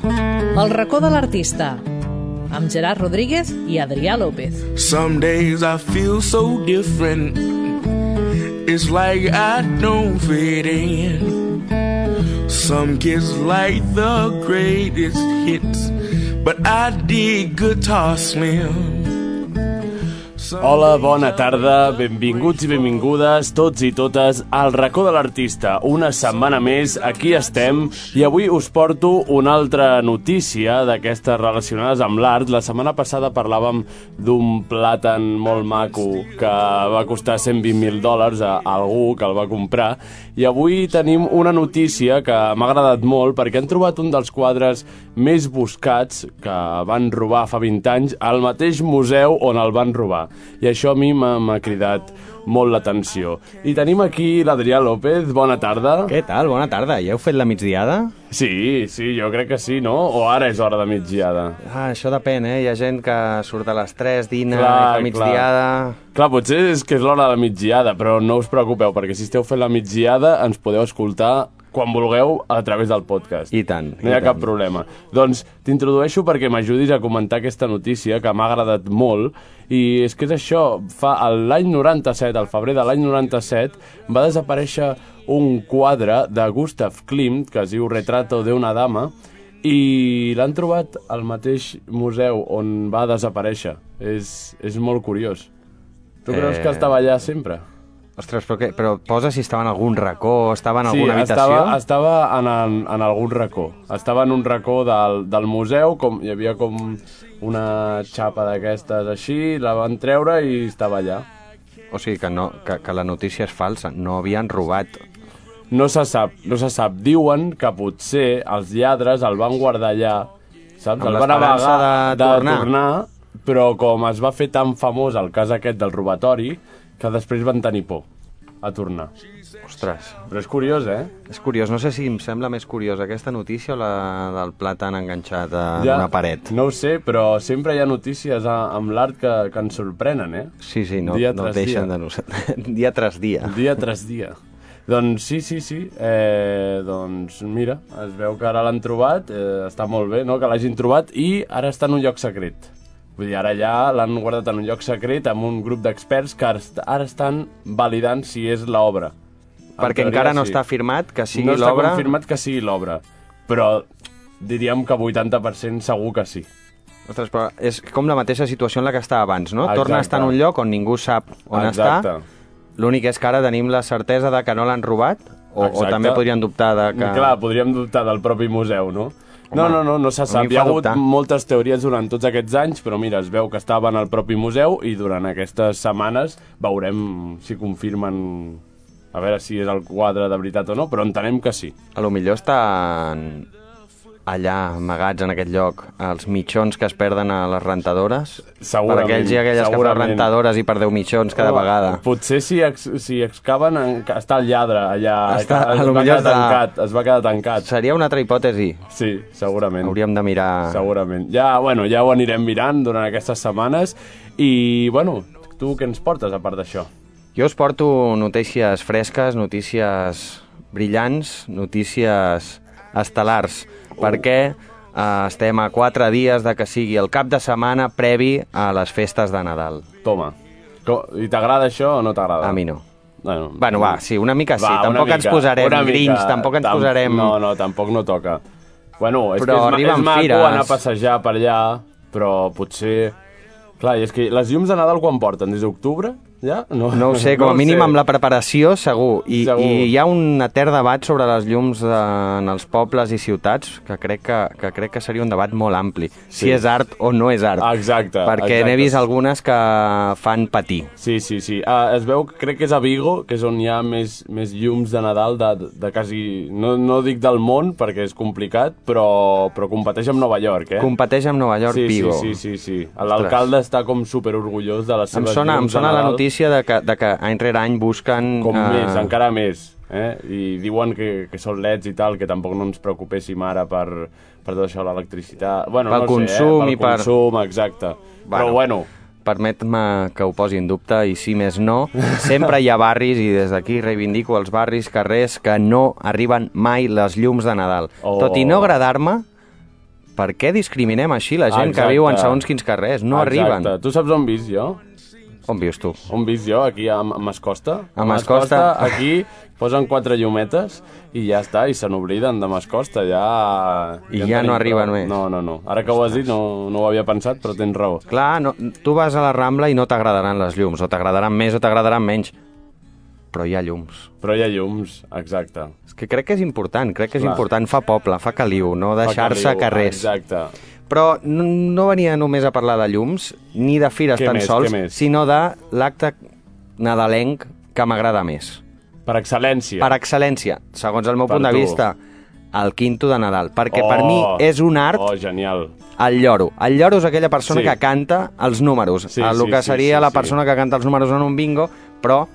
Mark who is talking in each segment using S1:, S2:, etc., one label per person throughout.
S1: El racó de l'artista amb Gerard Rodríguez i Adrià López.
S2: Some days I feel so different. It's like I don't fit in. Some kids like the greatest hits, but I dig guitar slim. Some
S3: Hola,
S2: days
S3: bona
S2: I
S3: tarda, benvinguts i benvingudes tots i totes al racó de l'artista. Una setmana més, aquí estem, i avui us porto una altra notícia d'aquestes relacionades amb l'art. La setmana passada parlàvem d'un plàtan molt maco que va costar 120.000 dòlars a algú que el va comprar, i avui tenim una notícia que m'ha agradat molt perquè han trobat un dels quadres més buscats que van robar fa 20 anys al mateix museu on el van robar. I això a mi m'ha m'ha cridat molt l'atenció. I tenim aquí l'Adrià López, bona tarda.
S4: Què tal? Bona tarda. Ja heu fet la migdiada?
S3: Sí, sí, jo crec que sí, no? O ara és hora de migdiada?
S4: Ah, això depèn, eh? Hi ha gent que surt a les 3, dina,
S3: Clar,
S4: clar, fa migdiada...
S3: Clar, potser és que és l'hora de la migdiada, però no us preocupeu, perquè si esteu fent la migdiada ens podeu escoltar quan vulgueu a través del podcast.
S4: I tant,
S3: No hi
S4: i
S3: ha
S4: tant.
S3: cap problema. Doncs t'introdueixo perquè m'ajudis a comentar aquesta notícia que m'ha agradat molt i és que és això, fa el- l'any 97, al febrer de l'any 97, va desaparèixer un quadre de Gustav Klimt que es diu Retrato de una dama i l'han trobat al mateix museu on va desaparèixer. És, és molt curiós. Tu creus
S4: Eh,
S3: que estava allà sempre?
S4: Ostres, però, què? però posa si estava en algun racó, estava en alguna habitació...
S3: estava, estava en, en, en algun racó. Estava en un racó del, del museu, com, hi havia com una xapa d'aquestes així, la van treure i estava allà.
S4: O sigui, que, no, que, que la notícia és falsa, no havien robat.
S3: No se sap, no se sap. Diuen que potser els lladres el van guardar allà, saps?
S4: Amb
S3: el van
S4: l'esperança
S3: amagar
S4: de tornar.
S3: tornar, però com es va fer tan famós el cas aquest del robatori, que després van tenir por a tornar.
S4: Ostres,
S3: Però és curiós, eh?
S4: és curiós. No sé si em sembla més curiosa aquesta notícia o la del plàtan enganxat a una paret.
S3: No ho sé, però sempre hi ha notícies a, amb l'art que, que ens sorprenen, eh?
S4: Sí, sí, no,
S3: Dia
S4: no
S3: tras
S4: deixen
S3: dia.
S4: de nosaltres. dia tras dia.
S3: Dia tras dia. Doncs sí, sí, sí. Eh, doncs mira, es veu que ara l'han trobat, eh, està molt bé no? que l'hagin trobat i ara està en un lloc secret. Vull dir, ara ja l'han guardat en un lloc secret amb un grup d'experts que ara est- ara estan validant si és l'obra. En
S4: Perquè
S3: teoria,
S4: encara no
S3: sí.
S4: està firmat que sigui
S3: no està
S4: l'obra...
S3: confirmat que sigui l'obra, però diríem que 80% segur que sí.
S4: Ostres, però és com la mateixa situació en la que estava abans, no?
S3: Exacte.
S4: Torna a estar en un lloc on ningú sap on
S3: Exacte.
S4: està. L'únic és que ara tenim la certesa de que no l'han robat o, o
S3: Exacte.
S4: també podrien dubtar de que...
S3: Que... Clar, podríem dubtar del propi museu, no? no,
S4: Home,
S3: no, no, no se
S4: a mi
S3: sap.
S4: em
S3: Hi ha
S4: fa
S3: hagut
S4: dubtar.
S3: moltes teories durant tots aquests anys, però mira, es veu que estaven al propi museu i durant aquestes setmanes veurem si confirmen a veure si és el quadre de veritat o no, però entenem que sí.
S4: A lo millor estan allà, amagats en aquest lloc, els mitjons que es perden a les rentadores.
S3: Segurament,
S4: Per aquells i aquelles que
S3: segurament.
S4: fan rentadores i perdeu mitjons cada vegada.
S3: Potser si, ex, si excaven, en- està el lladre allà.
S4: Està-
S3: es,
S4: a lo
S3: va
S4: millor
S3: quedar
S4: està-
S3: tancat, es va quedar tancat.
S4: Seria una altra hipòtesi.
S3: Sí, segurament.
S4: Hauríem de mirar...
S3: Segurament. Ja, bueno, ja ho anirem mirant durant aquestes setmanes. I, bueno, tu què ens portes a part d'això?
S4: Jo us porto notícies fresques, notícies brillants, notícies estel·lars, perquè eh, estem a quatre dies de que sigui el cap de setmana previ a les festes de Nadal.
S3: Toma. Co- I t'agrada això o no t'agrada?
S4: A mi no.
S3: Bueno,
S4: Bueno, va, sí, una mica sí.
S3: una
S4: Tampoc ens posarem
S3: una mica.
S4: grinch, tampoc ens posarem-
S3: No, no, tampoc no toca. Bueno, és
S4: Però
S3: que és, ma-
S4: arriben
S3: és maco
S4: fires.
S3: anar a passejar per allà, però potser... Clar, i és que les llums de Nadal quan porten? Des d'octubre? Ja? No,
S4: No ho sé, com a mínim amb la preparació, segur. I,
S3: Segur.
S4: I hi ha un etern debat sobre les llums de, en els pobles i ciutats que crec que, que crec que seria un debat molt ampli. Sí. Si és art o no és art.
S3: Exacte,
S4: Perquè
S3: exacte.
S4: n'he vist algunes que fan patir.
S3: Sí, sí, sí. Uh, es veu, crec que és a Vigo, que és on hi ha més, més llums de Nadal de, de, de quasi... No, no dic del món, perquè és complicat, però, però competeix amb Nova York, eh?
S4: Competeix amb Nova York
S3: sí,
S4: Vigo.
S3: Sí, sí, sí, sí. L'alcalde està com super orgullós de les
S4: Em
S3: seves
S4: sona, em
S3: llums de
S4: sona la
S3: Nadal,
S4: notícia de que, de que any rere any busquen...
S3: Com
S4: eh,
S3: més, encara més. Eh? I diuen que, que són leds i tal, que tampoc no ens preocupéssim ara per, per tot això, l'electricitat... Bueno,
S4: Pel
S3: no
S4: consum
S3: sé, eh?
S4: i per-
S3: consum, exacte. Però bueno,
S4: Permet-me que ho posi en dubte, i si més no, sempre hi ha barris, i des d'aquí reivindico els barris, carrers, que no arriben mai les llums de Nadal.
S3: Oh.
S4: Tot i no agradar-me, Per què discriminem així la gent
S3: Exacte.
S4: que viu en segons quins carrers? No
S3: Exacte.
S4: arriben.
S3: Tu saps on visc jo?
S4: On vius tu?
S3: On visc jo? Aquí a M- Mascosta.
S4: A Mascosta.
S3: Aquí posen quatre llumetes i ja està, i se n'obliden de Mascosta. Ja...
S4: I
S3: en
S4: ja
S3: tenim
S4: no arriben
S3: prou.
S4: més.
S3: No, no, no. Ara que ho has dit no, no ho havia pensat, però tens raó.
S4: Clar, no, tu vas a la Rambla i no t'agradaran les llums, o t'agradaran més o t'agradaran menys, però hi ha llums.
S3: Però hi ha llums, exacte.
S4: És que crec que és important, crec que és
S3: Clar.
S4: important, fa poble, fa caliu, no
S3: Fa
S4: deixar-se
S3: caliu,
S4: carrers.
S3: Exacte.
S4: Però no, no venia només a parlar de llums, ni de fires
S3: Què
S4: tan
S3: més,
S4: sols,
S3: què més?
S4: sinó de l'acte nadalenc que m'agrada més.
S3: Per excel·lència.
S4: Per excel·lència, segons el meu
S3: Per
S4: punt de
S3: tu.
S4: vista, el quinto de Nadal. Perquè per
S3: Oh!
S4: mi és un art
S3: Oh, genial.
S4: el lloro. El lloro és aquella persona
S3: Sí.
S4: sí. que canta els números.
S3: Sí,
S4: Sí, el
S3: sí,
S4: que
S3: sí,
S4: seria
S3: sí,
S4: la
S3: sí.
S4: persona que canta els números en un bingo, però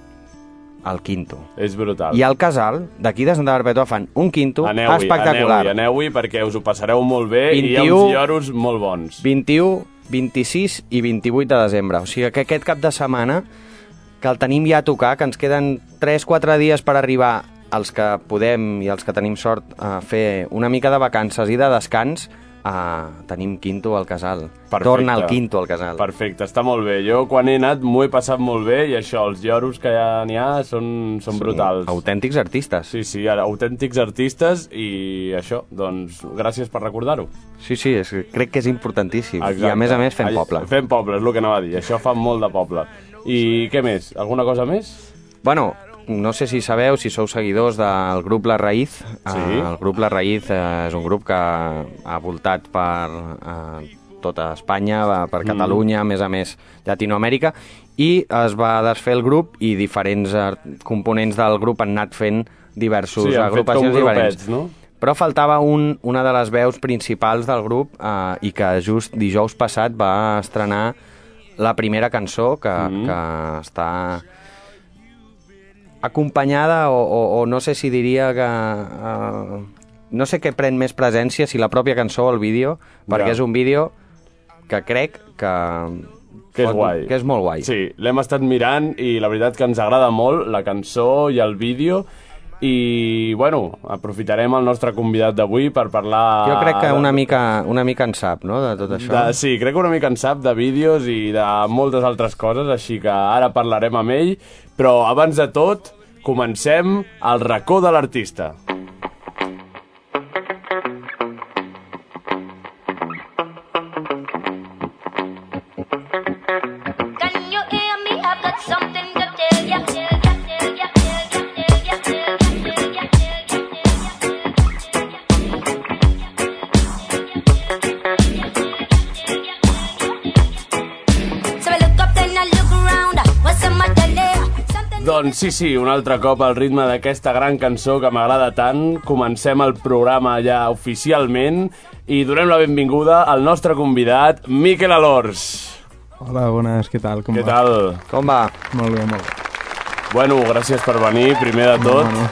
S4: el quinto.
S3: És brutal.
S4: I al casal, d'aquí de Santa Perpètua, fan un quinto
S3: Aneu-hi,
S4: espectacular.
S3: Aneu-hi, aneu-hi, perquè us ho passareu molt bé i hi ha
S4: 21.
S3: uns lloros molt bons.
S4: 21, 26 i 28 de desembre. O sigui que aquest cap de setmana, que el tenim ja a tocar, que ens queden 3-4 dies per arribar els que podem i els que tenim sort a fer una mica de vacances i de descans, a... tenim quinto al casal.
S3: Perfecte.
S4: Torna el quinto al casal.
S3: Perfecte, està molt bé. Jo quan he anat m'ho he passat molt bé i això, els lloros que ja n'hi ha són, són brutals.
S4: Autèntics artistes.
S3: Sí, sí, ara, autèntics artistes i això, doncs, gràcies per recordar-ho.
S4: sí, sí és, crec que és importantíssim. I a més a més fem
S3: Ai,
S4: poble.
S3: Fem poble, és el que anava a dir. Això fa molt de poble. I què més? Alguna cosa més?
S4: Bueno, no sé si sabeu, si sou seguidors del grup La Raïz.
S3: Sí.
S4: Eh, El grup La Raïz eh, és un grup que ha voltat per eh, tota Espanya, va
S3: Mm.
S4: per Catalunya, a més a més Llatinoamèrica, i es va desfer el grup i diferents eh, components del grup han anat fent diversos
S3: sí, han fet com
S4: agrupacions diferents.
S3: grupets, no?
S4: Però faltava un, una de les veus principals del grup eh, i que just dijous passat va estrenar la primera cançó que,
S3: Mm-hmm.
S4: mm. que està acompanyada o, o, o no sé si diria que... Eh, no sé què pren més presència, si la pròpia cançó o el vídeo, perquè
S3: Ja.
S4: és un vídeo que crec que...
S3: Que és guai.
S4: Que és molt guai.
S3: Sí, l'hem estat mirant i la veritat que ens agrada molt la cançó i el vídeo i, bueno, aprofitarem el nostre convidat d'avui per parlar...
S4: Jo crec que
S3: Ah, de-
S4: una mica, una mica en sap, no?, de tot això.
S3: De, sí, crec que una mica en sap de vídeos i de moltes altres coses, així que ara parlarem amb ell, però abans de tot, comencem el racó de l'artista.
S5: Can you hear me? I've got something to tell ya. Tell ya, tell ya, tell ya, tell ya, tell ya, tell ya, tell ya, tell ya. So I look up and I look around. What's on my telly? Something.
S3: Doncs sí, sí, un altre cop al ritme d'aquesta gran cançó que m'agrada tant. Comencem el programa ja oficialment i donem la benvinguda al nostre convidat, Miquel Alors.
S6: Hola, bones, què tal? Com
S3: Què
S6: va?
S3: tal?
S4: Com va?
S6: Molt bé, molt bé.
S3: Bueno, gràcies per venir, primer de tot.
S6: Bueno.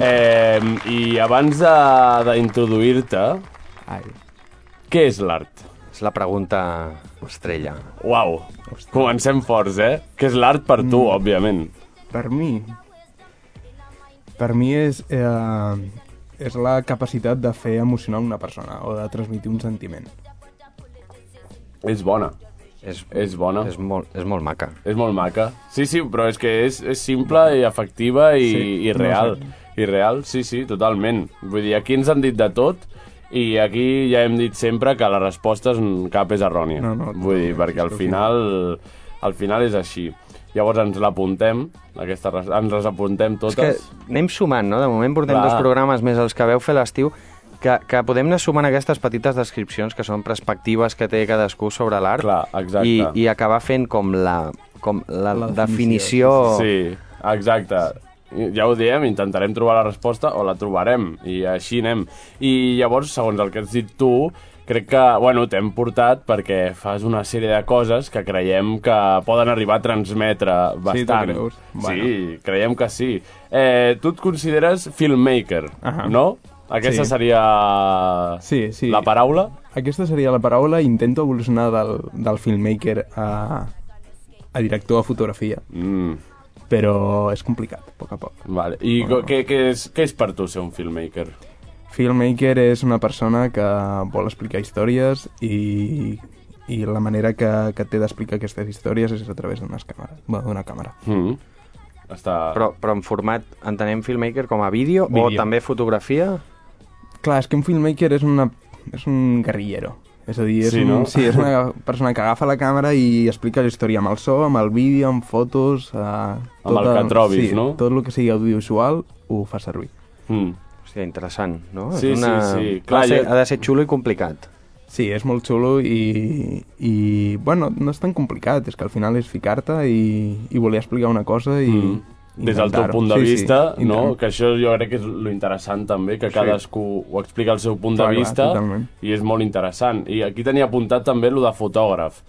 S3: Eh, I abans de- d'introduir-te,
S6: Ai,
S3: què és l'art?
S4: És la pregunta estrella.
S3: Uau, comencem forts, eh? Que és l'art per tu,
S6: Mm.
S3: òbviament.
S6: per mi... Per mi és... Eh, és la capacitat de fer emocionar una persona o de transmitir un sentiment.
S3: És bona,
S4: És,
S3: és bona.
S4: és, molt, és molt maca.
S3: És molt maca. Sí, sí, però és que és, és simple i efectiva i, sí,
S6: Sí,
S3: i
S6: no
S3: real.
S6: sé.
S3: I real, sí, sí, totalment. Vull dir, aquí ens han dit de tot i aquí ja hem dit sempre que la resposta és cap és errònia.
S6: No, no,
S3: Vull dir,
S6: totalment,
S3: perquè al
S6: sí, sí.
S3: final, al final és així. Llavors ens l'apuntem, aquesta, res- ens les apuntem
S4: És que
S3: totes.
S4: anem sumant, no? De moment portem
S3: Doncs- Clar.
S4: Clar. dos programes més els que veu fer l'estiu que, que podem anar sumant aquestes petites descripcions que són perspectives que té cadascú sobre l'art
S3: Clar, exacte.
S4: i, i acabar fent com la, com la,
S6: La
S4: la definició...
S6: definició,
S3: Sí, exacte. Ja ho diem, intentarem trobar la resposta o la trobarem, i així anem. I llavors, segons el que has dit tu, crec que, bueno, t'hem portat perquè fas una sèrie de coses que creiem que poden arribar a transmetre bastant.
S6: creus?
S3: Sí,
S6: Bueno.
S3: creiem que sí. Eh, tu et consideres filmmaker,
S6: Ahà.
S3: no? Aquesta
S6: Sí.
S3: seria
S6: Sí, sí.
S3: la paraula?
S6: Aquesta seria la paraula. Intento evolucionar del, del filmmaker a, a director de fotografia,
S3: Mm,
S6: però és complicat, a poc a poc.
S3: vale. I co- què, què, és, què és per tu ser un filmmaker?
S6: Filmmaker és una persona que vol explicar històries i, i la manera que, que té d'explicar aquestes històries és a través d'unes càmeres, bé, d'una càmera.
S3: Mm. Està...
S4: Però, però en format, entenem filmmaker com a vídeo,
S7: Vídeo.
S4: o també fotografia?
S6: Clar, és que un filmmaker és, una, és un guerrillero. És a dir, és,
S3: Sí,
S6: un,
S3: no?
S6: sí, és una persona que agafa la càmera i explica la història amb el so, amb el vídeo, amb fotos... Eh,
S3: Amb el
S6: tot
S3: que trobis,
S6: sí,
S3: no?
S6: tot el que sigui audiovisual ho fa servir.
S3: Mm.
S4: Hòstia, interessant, no?
S3: Sí,
S4: és una...
S3: sí, sí, clar,
S4: ha, de ser,
S3: jo-
S4: ha de ser xulo i complicat.
S6: Sí, és molt xulo i, i bueno, no és tan complicat, és que al final és ficar-te i, i voler explicar una cosa i...
S3: Mm.
S6: Mm.
S3: Des del teu punt de vista, sí, sí. no? que això jo crec que és lo interessant també, que cadascú ho explica al seu punt
S6: Clar,
S3: de
S6: clar,
S3: vista
S6: totalment.
S3: i és molt interessant. I aquí tenia apuntat també lo de fotògraf.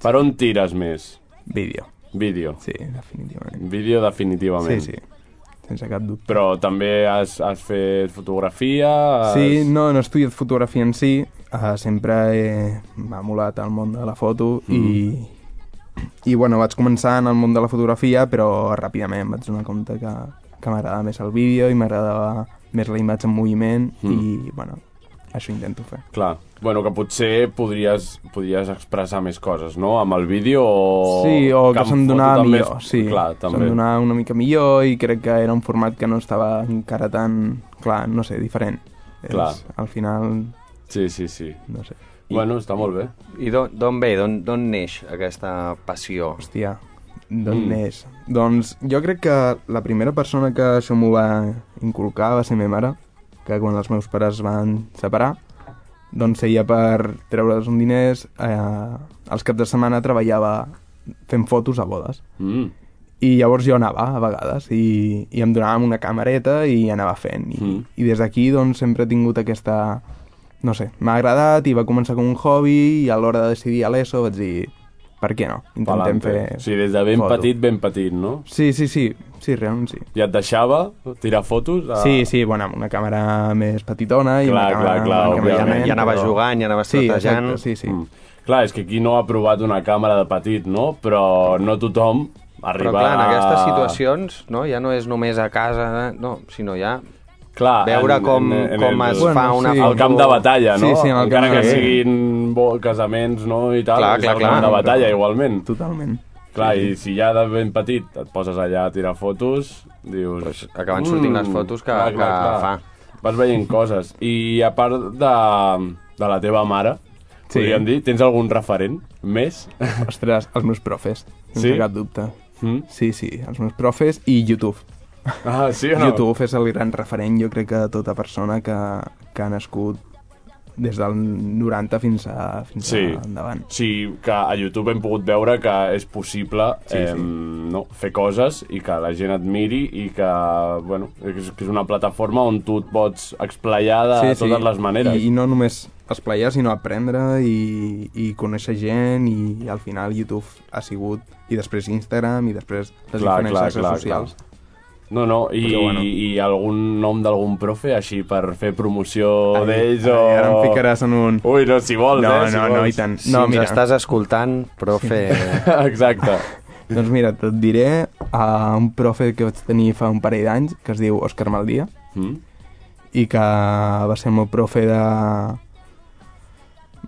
S3: Per on tires més?
S6: Vídeo,
S3: Vídeo.
S6: sí, definitivament.
S3: Vídeo definitivament.
S6: Sí, sí, sense cap dubte.
S3: Però també has, has fet fotografia... Has...
S6: Sí, no, no he estudiat fotografia en si, uh, sempre he- m'ha molat el món de la foto mm. i i bueno, vaig començar en el món de la fotografia, però ràpidament em vaig donar compte que, que m'agradava més el vídeo i m'agradava més la imatge en moviment mm. i bueno, això intento fer.
S3: Clar. Bueno, que potser podries, podries expressar més coses, no? Amb el vídeo o...
S6: sí, o que,
S3: amb
S6: se'm
S3: foto
S6: donava
S3: també
S6: millor,
S3: és-
S6: sí,
S3: Clar,
S6: se'm
S3: també.
S6: donava una mica millor i crec que era un format que no estava encara tan, clar, no sé, diferent.
S3: Clar.
S6: És, al final,
S3: Sí, sí, sí.
S6: no sé,
S3: Bueno, està molt bé.
S4: I d'on- d'on ve, d'on d'on neix aquesta passió?
S6: Hòstia, d'on mm. és? Doncs jo crec que la primera persona que això m'ho va inculcar va ser ma mare, que quan els meus pares es van separar, doncs ella per treure's uns diners, eh, els caps de setmana treballava fent fotos a bodes.
S3: Mm.
S6: I llavors jo anava a vegades i, i em donàvem una camereta i anava fent. I,
S3: Mm.
S6: mm. i des d'aquí doncs, sempre he tingut aquesta... No sé, m'ha agradat i va començar com un hobby i a l'hora de decidir a l'ESO vaig dir per què no? Intentem
S3: Palante.
S6: fer...
S3: Sí, des de ben
S6: foto.
S3: petit, ben petit, no?
S6: Sí, sí, sí, sí, realment sí.
S3: I et deixava tirar fotos? A...
S6: Sí, sí, bueno, amb una càmera més petitona i
S3: Ah. Clar,
S6: una càmera...
S3: clar, clar,
S6: una càmera
S3: òbviament,
S6: llarga,
S4: ja anava
S6: però-
S4: jugant, ja anava
S6: sí,
S4: estratejant.
S6: Exacte, sí, sí.
S3: Mm. Clar, és que aquí no ha provat una càmera de petit, no? Però no tothom arriba
S4: Però clar, en
S3: a-
S4: aquestes situacions, no, ja no és només a casa, no, sinó ja...
S6: Ah,
S3: Clar,
S4: veure com- com es
S6: Bueno, fa una sí. foto-
S3: Al camp de batalla, no?
S6: Sí, sí, en el
S3: Encara
S6: camp
S3: que
S6: de-
S3: siguin bo, casaments, no? I tal,
S4: Clar,
S3: és
S4: clar,
S3: el
S4: clar.
S3: camp de batalla, igualment.
S6: Totalment.
S3: Clar, i si ja de ben petit et poses allà a tirar fotos, dius...
S4: Pues acaben sortint
S3: Mm.
S6: Mm.
S4: les fotos que- que
S3: fa. Vas veient coses. I a part de, de la teva mare,
S6: Sí.
S3: podríem dir, tens algun referent més?
S6: Ostres, els meus profes, sense
S3: Sí?
S6: cap dubte.
S3: Mm?
S6: Sí, sí, els meus profes i YouTube.
S3: Ah, sí o no?
S6: YouTube és el gran referent, jo crec, que de tota persona que, que ha nascut des del 90 fins a, fins
S3: Sí.
S6: a Ah, endavant.
S3: Sí, que a YouTube hem pogut veure que és possible sí,
S6: sí.
S3: eh, no, fer coses i que la gent et miri i que, bueno, que és, que és una plataforma on tu et pots explayar de sí, totes les maneres.
S6: I, I no només esplayar, sinó aprendre i, i conèixer gent i, al final YouTube ha sigut i després Instagram i després les
S3: Clar,
S6: diferents
S3: clar,
S6: xarxes
S3: clar,
S6: socials.
S3: clar. No, no, i,
S6: Però
S3: bueno.
S6: bueno.
S3: i algun nom d'algun profe així per fer promoció d'ells o...
S6: Ai, ara em ficaràs en un...
S3: Ui, no, si vols,
S6: no,
S3: eh? si
S6: no,
S3: vols.
S6: no, i tant.
S4: Si
S6: no,
S4: ens
S6: mira,
S4: estàs escoltant, profe...
S3: Exacte.
S6: doncs mira, te't diré a un profe que vaig tenir fa un parell d'anys, que es diu Òscar Maldia,
S3: Mm?
S6: i que va ser el meu profe de...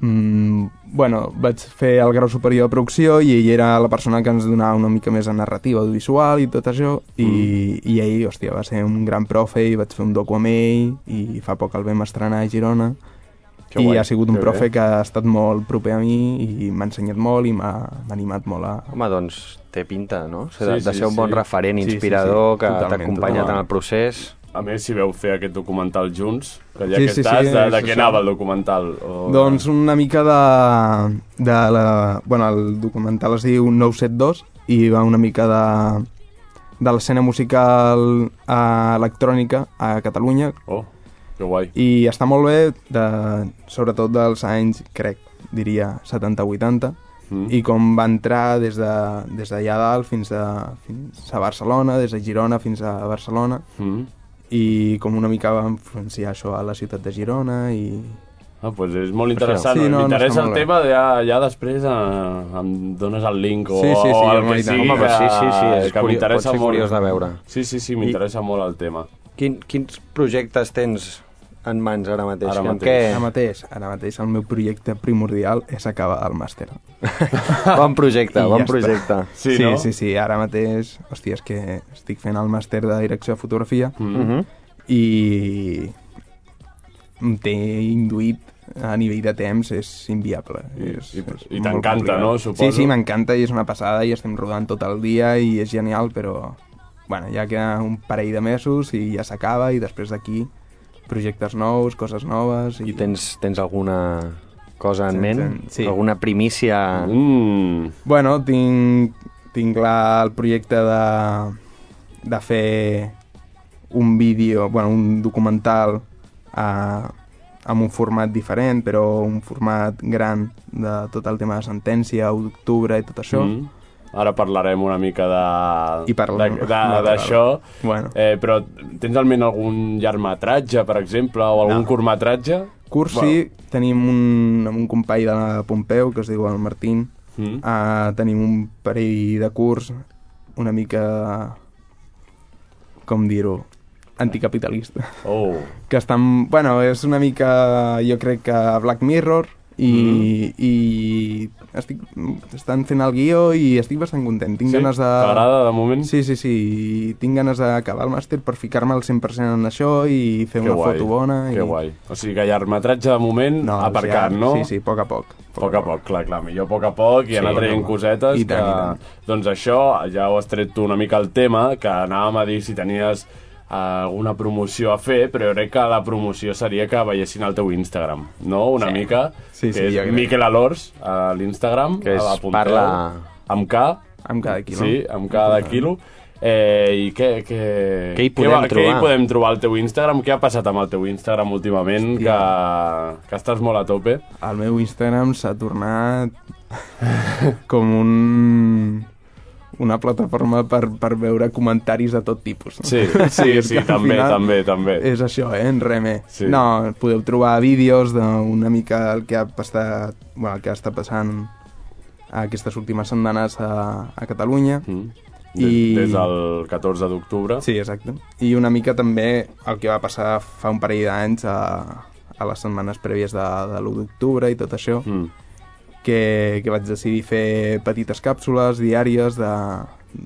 S6: Mm, bueno, vaig fer el grau superior de producció i ell era la persona que ens donava una mica més de narrativa audiovisual i tot això i,
S3: Mm.
S6: i ell, hòstia, va ser un gran profe i vaig fer un docu amb ell i fa poc el vam estrenar a Girona
S3: Que
S6: i
S3: guai,
S6: ha sigut un
S3: que
S6: profe
S3: bé.
S6: que ha estat molt proper a mi i m'ha ensenyat molt i m'ha m'ha animat molt a...
S4: Home, doncs té pinta, no? O sigui,
S3: Sí,
S4: sí, de
S3: sí,
S4: ser un bon
S3: sí.
S4: referent
S6: Sí, sí, sí.
S4: inspirador que
S6: Totalment,
S4: t'ha acompanyat
S6: totalment.
S4: en el procés.
S3: A més, si veu fer aquest documental junts, que ja
S6: Sí,
S3: que
S6: sí, sí,
S3: estàs, de, de
S6: és
S3: què
S6: això.
S3: anava el documental? O...
S6: Doncs una mica de... de la, bueno, el documental es diu 972 i va una mica de, de l'escena musical eh, electrònica a Catalunya
S3: Oh, que guai.
S6: i està molt bé, de, sobretot dels anys, crec, diria 70-80
S3: Mm.
S6: i com va entrar des d'allà de, des d'allà dalt fins a, fins a Barcelona, des de Girona fins a Barcelona
S3: Mm.
S6: i com una mica va influenciar això a la ciutat de Girona i,
S3: Ah, doncs és molt interessant.
S6: Sí,
S3: Sí,
S6: no,
S3: no,
S6: no
S3: M'interessa
S6: està
S3: el
S6: molt bé.
S3: tema, ja, ja després eh, em dones el link o,
S6: Sí, sí, sí,
S3: o el
S6: home,
S3: que
S6: i tant.
S3: sigui.
S4: Home,
S3: que,
S4: però sí, sí, sí,
S3: que
S4: és curiós, pot
S3: m'interessa
S4: ser
S3: molt.
S4: curiós de veure.
S3: Sí, sí, sí, m'interessa molt el tema.
S4: Quin, quins projectes tens en mans ara mateix?
S3: Ara
S4: Amb
S3: mateix.
S6: Ara mateix, ara mateix el meu projecte primordial és acabar el màster.
S4: Què? Bon projecte,
S6: I
S4: bon
S6: ja està.
S4: projecte.
S3: Sí,
S6: sí,
S3: no?
S6: sí, sí, ara mateix, hòstia, és que estic fent el màster de direcció de fotografia
S3: Mm -hmm.
S6: i em té induït a nivell de temps és inviable.
S3: I-
S6: és,
S3: i- i
S6: és molt
S3: t'encanta,
S6: complicat.
S3: no? Suposo.
S6: Sí, sí, m'encanta i és una passada i estem rodant tot el dia i és genial, però bueno, ja queda un parell de mesos i ja s'acaba i després d'aquí projectes nous, coses noves...
S4: I
S6: I,
S4: tens, tens alguna cosa en
S6: Sí,
S4: ment?
S6: sí.
S4: Alguna
S6: Ah.
S4: primícia?
S3: Mm.
S6: Bueno, tinc, tinc clar el projecte de, de fer un vídeo, bueno, un documental a, amb un format diferent, però un format gran de tot el tema de sentència, 1 d'octubre i tot això.
S3: Mm. Ara parlarem una mica de...
S6: I parlem.
S3: de- de- D'això.
S6: Bueno,
S3: Eh, però tens al ment algun llargmetratge, per exemple, o algun no.
S6: No.
S3: curtmetratge?
S6: curs sí, tenim un, amb un company de la Pompeu, que es diu el Martín,
S3: Mm.
S6: uh, tenim un parell de curs una mica, com dir-ho, anticapitalista.
S3: Oh.
S6: que estan... Bueno, és una mica, jo crec que Black Mirror i, mm. i estic, estan fent el guió i estic bastant content. Tinc
S3: Sí?
S6: ganes de...
S3: T'agrada, de moment?
S6: Sí, sí, sí. i Tinc ganes d'acabar el màster per ficar-me al 100% en això i fer
S3: Que
S6: una
S3: guai,
S6: foto bona.
S3: Que
S6: i...
S3: guai. O sigui que llargmetratge, de moment, no, aparcat,
S6: ja,
S3: no?
S6: Sí, sí, a poc a poc.
S3: A poc a poc, clar, clar, millor a poc a poc i sí, anar traient
S6: home.
S3: cosetes.
S6: I tant,
S3: que...
S6: i tant.
S3: Doncs això, ja ho has tret tu una mica el tema, que anàvem a dir si tenies eh, alguna promoció a fer, però jo crec que la promoció seria que veiessin el teu Instagram, no? Una sí. mica,
S6: Sí, sí,
S3: que és
S6: jo crec.
S3: Miquel Alors, a l'Instagram,
S4: Que és-
S3: a la Pompeu,
S4: parla-
S3: amb K.
S6: Amb cada quilo.
S3: Sí, amb cada quilo. Eh, I què, què,
S4: Què hi
S3: què,
S4: podem
S3: va- què
S4: trobar?
S3: hi podem trobar al teu Instagram? Què ha passat amb el teu Instagram últimament? Que, que estàs molt a tope.
S6: El meu Instagram s'ha tornat com un una plataforma per, per veure comentaris de tot tipus. No?
S3: Sí, sí,
S6: És
S3: sí,
S6: que al
S3: també,
S6: final
S3: també, també.
S6: És això, eh? En re més.
S3: Sí.
S6: No, podeu trobar vídeos d'una mica el que ha passat, bueno, el que està passant aquestes últimes setmanes a, a Catalunya.
S3: Mm. I...
S6: I-
S3: Des del 14 d'octubre.
S6: Sí, exacte. I una mica també el que va passar fa un parell d'anys a, a les setmanes prèvies de, de l'1 d'octubre i tot això.
S3: Mm.
S6: que, que vaig decidir fer petites càpsules diàries de,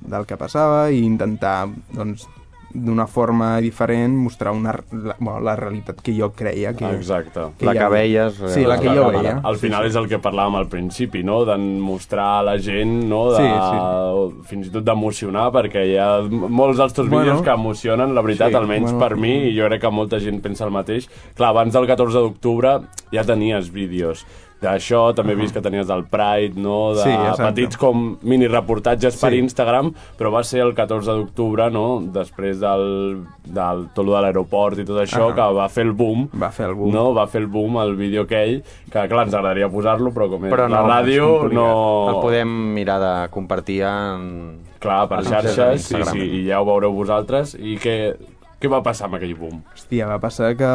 S6: del que passava i intentar, doncs, d'una forma diferent mostrar una, la, bueno, la realitat que jo creia que,
S3: Exacte.
S6: que
S4: La
S6: hi
S4: que
S6: havia.
S4: veies, eh,
S6: Sí, la que
S4: la
S6: jo
S4: càmera.
S6: veia.
S3: Al final sí, és el que parlàvem al principi, no? De mostrar a la gent, no? De...
S6: Sí,
S3: sí. Fins i tot d'emocionar, perquè hi ha molts dels teus
S6: Bueno.
S3: vídeos que emocionen, la veritat,
S6: Sí,
S3: sí, almenys
S6: bueno.
S3: bueno. per mi, i jo crec que molta gent pensa el mateix. Clar, abans del 14 d'octubre ja tenies vídeos d'això, també he vist que tenies del Pride, no? De
S6: Sí, exacte.
S3: petits com mini reportatges per
S6: Sí.
S3: Instagram, però va ser el 14 d'octubre, no? Després del, del tot lo de l'aeroport i tot això,
S6: Ahà.
S3: que va fer el boom.
S6: Va fer el boom.
S3: No? va fer el boom el vídeo aquell, que clar, ens agradaria posar-lo, però com és
S4: Però
S3: la
S4: no,
S3: ràdio,
S6: és complicat.
S3: no...
S4: El podem mirar de compartir en...
S3: Clar, per
S4: Ah,
S3: xarxes, sí,
S4: Instagram.
S3: sí, i ja ho veureu vosaltres. I què, què va passar amb aquell boom?
S6: Hòstia, va passar que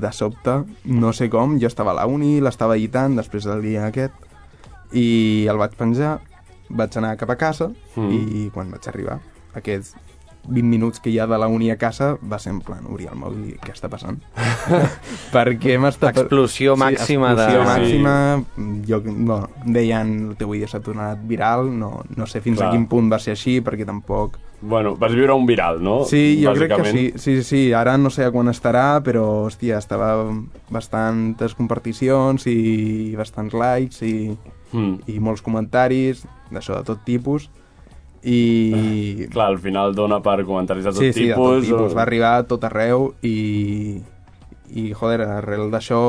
S6: de sobte, no sé com, jo estava a la uni, l'estava editant després del dia aquest, i el vaig penjar, vaig anar cap a casa,
S3: Mm.
S6: i quan vaig arribar, aquests 20 minuts que hi ha de la uni a casa, va ser en plan, obrir el mòbil i dir, què està passant? Perquè m'està... per-
S4: Explosió màxima de-
S3: Sí,
S6: explosió
S3: sí.
S6: màxima, jo, bueno, deien el teu vídeo s'ha tornat viral, no, no sé fins
S3: Clar.
S6: a quin punt va ser així, perquè tampoc...
S3: Bueno, vas viure un viral, no?
S6: Sí, jo crec que
S3: Oh, Bàsicament.
S6: sí, sí, sí, ara no sé a quan estarà, però, hòstia, estava bastantes comparticions i bastants likes i,
S3: Mm.
S6: i molts comentaris, d'això de tot tipus, i...
S3: Clar, al final dona per comentaris de tot
S6: sí, sí, de tot
S3: tipus.
S6: tipus, va arribar a tot arreu i, i joder, arrel d'això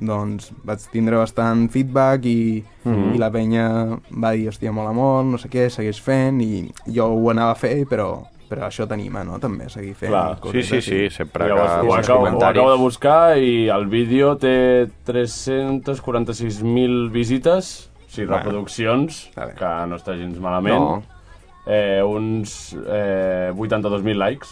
S6: doncs vaig tindre bastant feedback i,
S3: Mhm.
S6: mm. i la penya va dir, hòstia, mola molt, no sé què, segueix fent i jo ho anava a fer, però, però això t'anima, no?, també, a seguir fent
S3: Clar,
S4: Sí,
S6: coses
S4: sí, sí,
S6: així.
S4: sempre que
S3: Llavors, ho,
S4: veus
S3: acabo, ho
S4: comentaris.
S3: acabo de buscar i el vídeo té 346.000 visites, o sigui,
S6: Bueno.
S3: reproduccions,
S6: Està bé.
S3: que no està gens malament.
S4: No.
S3: Eh, uns eh, 82.000 likes,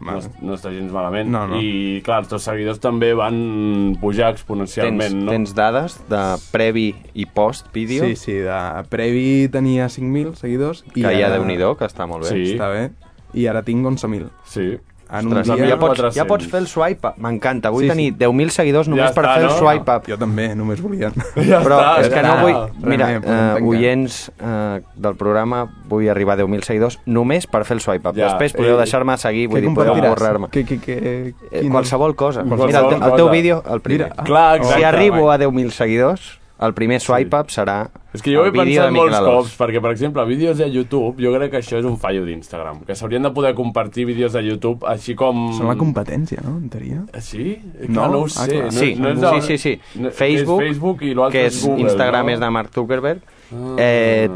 S3: no,
S6: Vale.
S3: es- no està gens malament.
S6: No, no.
S3: I, clar, els teus seguidors també van pujar exponencialment,
S4: Tens,
S3: no?
S4: tens dades de previ i post vídeo?
S6: Sí, sí, de previ tenia 5.000 seguidors i
S4: Que ja
S6: ara...
S4: déu nhi que està molt bé.
S3: Sí.
S6: Està bé. I ara tinc 11.000.
S3: Sí.
S6: En un
S4: Ostres,
S6: dia...
S4: ja, pots,
S3: 400.
S4: ja pots fer el swipe up. M'encanta, vull
S6: Sí,
S4: sí,
S6: sí.
S4: tenir 10.000 seguidors només
S3: Ja
S4: per
S3: està,
S4: fer
S3: no?
S4: el swipe up.
S6: Jo també, només volia...
S3: Ja
S4: Però
S3: està,
S4: és
S3: ja
S4: que no
S3: està.
S4: vull...
S6: Res
S4: Mira,
S6: més, podem
S4: eh,
S6: tancar.
S4: oients eh, del programa, vull arribar a 10.000 seguidors només per fer el swipe up.
S3: Ja,
S4: Després podeu
S3: eh,
S4: deixar-me seguir,
S6: Què
S4: vull dir, podeu
S6: compartiràs?
S4: borrar-me.
S6: Que, que, que,
S4: Eh, Qualsevol cosa.
S6: Qualsevol
S4: Mira, el, te el teu
S3: cosa.
S4: vídeo, el primer.
S6: Mira, ah,
S3: Clar, exacte.
S4: si arribo
S3: vai.
S4: a 10.000 seguidors, el primer swipe up serà
S3: És que jo ho he
S4: el vídeo
S3: pensat
S4: de Miquel
S3: molts
S4: Alòs.
S3: cops, perquè, per exemple, vídeos de YouTube, jo crec que això és un fallo d'Instagram, que s'haurien de poder compartir vídeos de YouTube així com...
S6: Són la competència, no? En teoria.
S3: Eh, Sí?
S6: No?
S3: No, no ho
S6: Ah,
S3: sé.
S6: clar.
S3: no,
S4: Sí,
S3: no és
S4: sí, sí, sí.
S3: no- és
S4: Facebook,
S3: Facebook i l'altre
S4: que és
S3: és Google,
S4: Instagram
S3: no? Ah.
S4: és de Mark Zuckerberg, eh,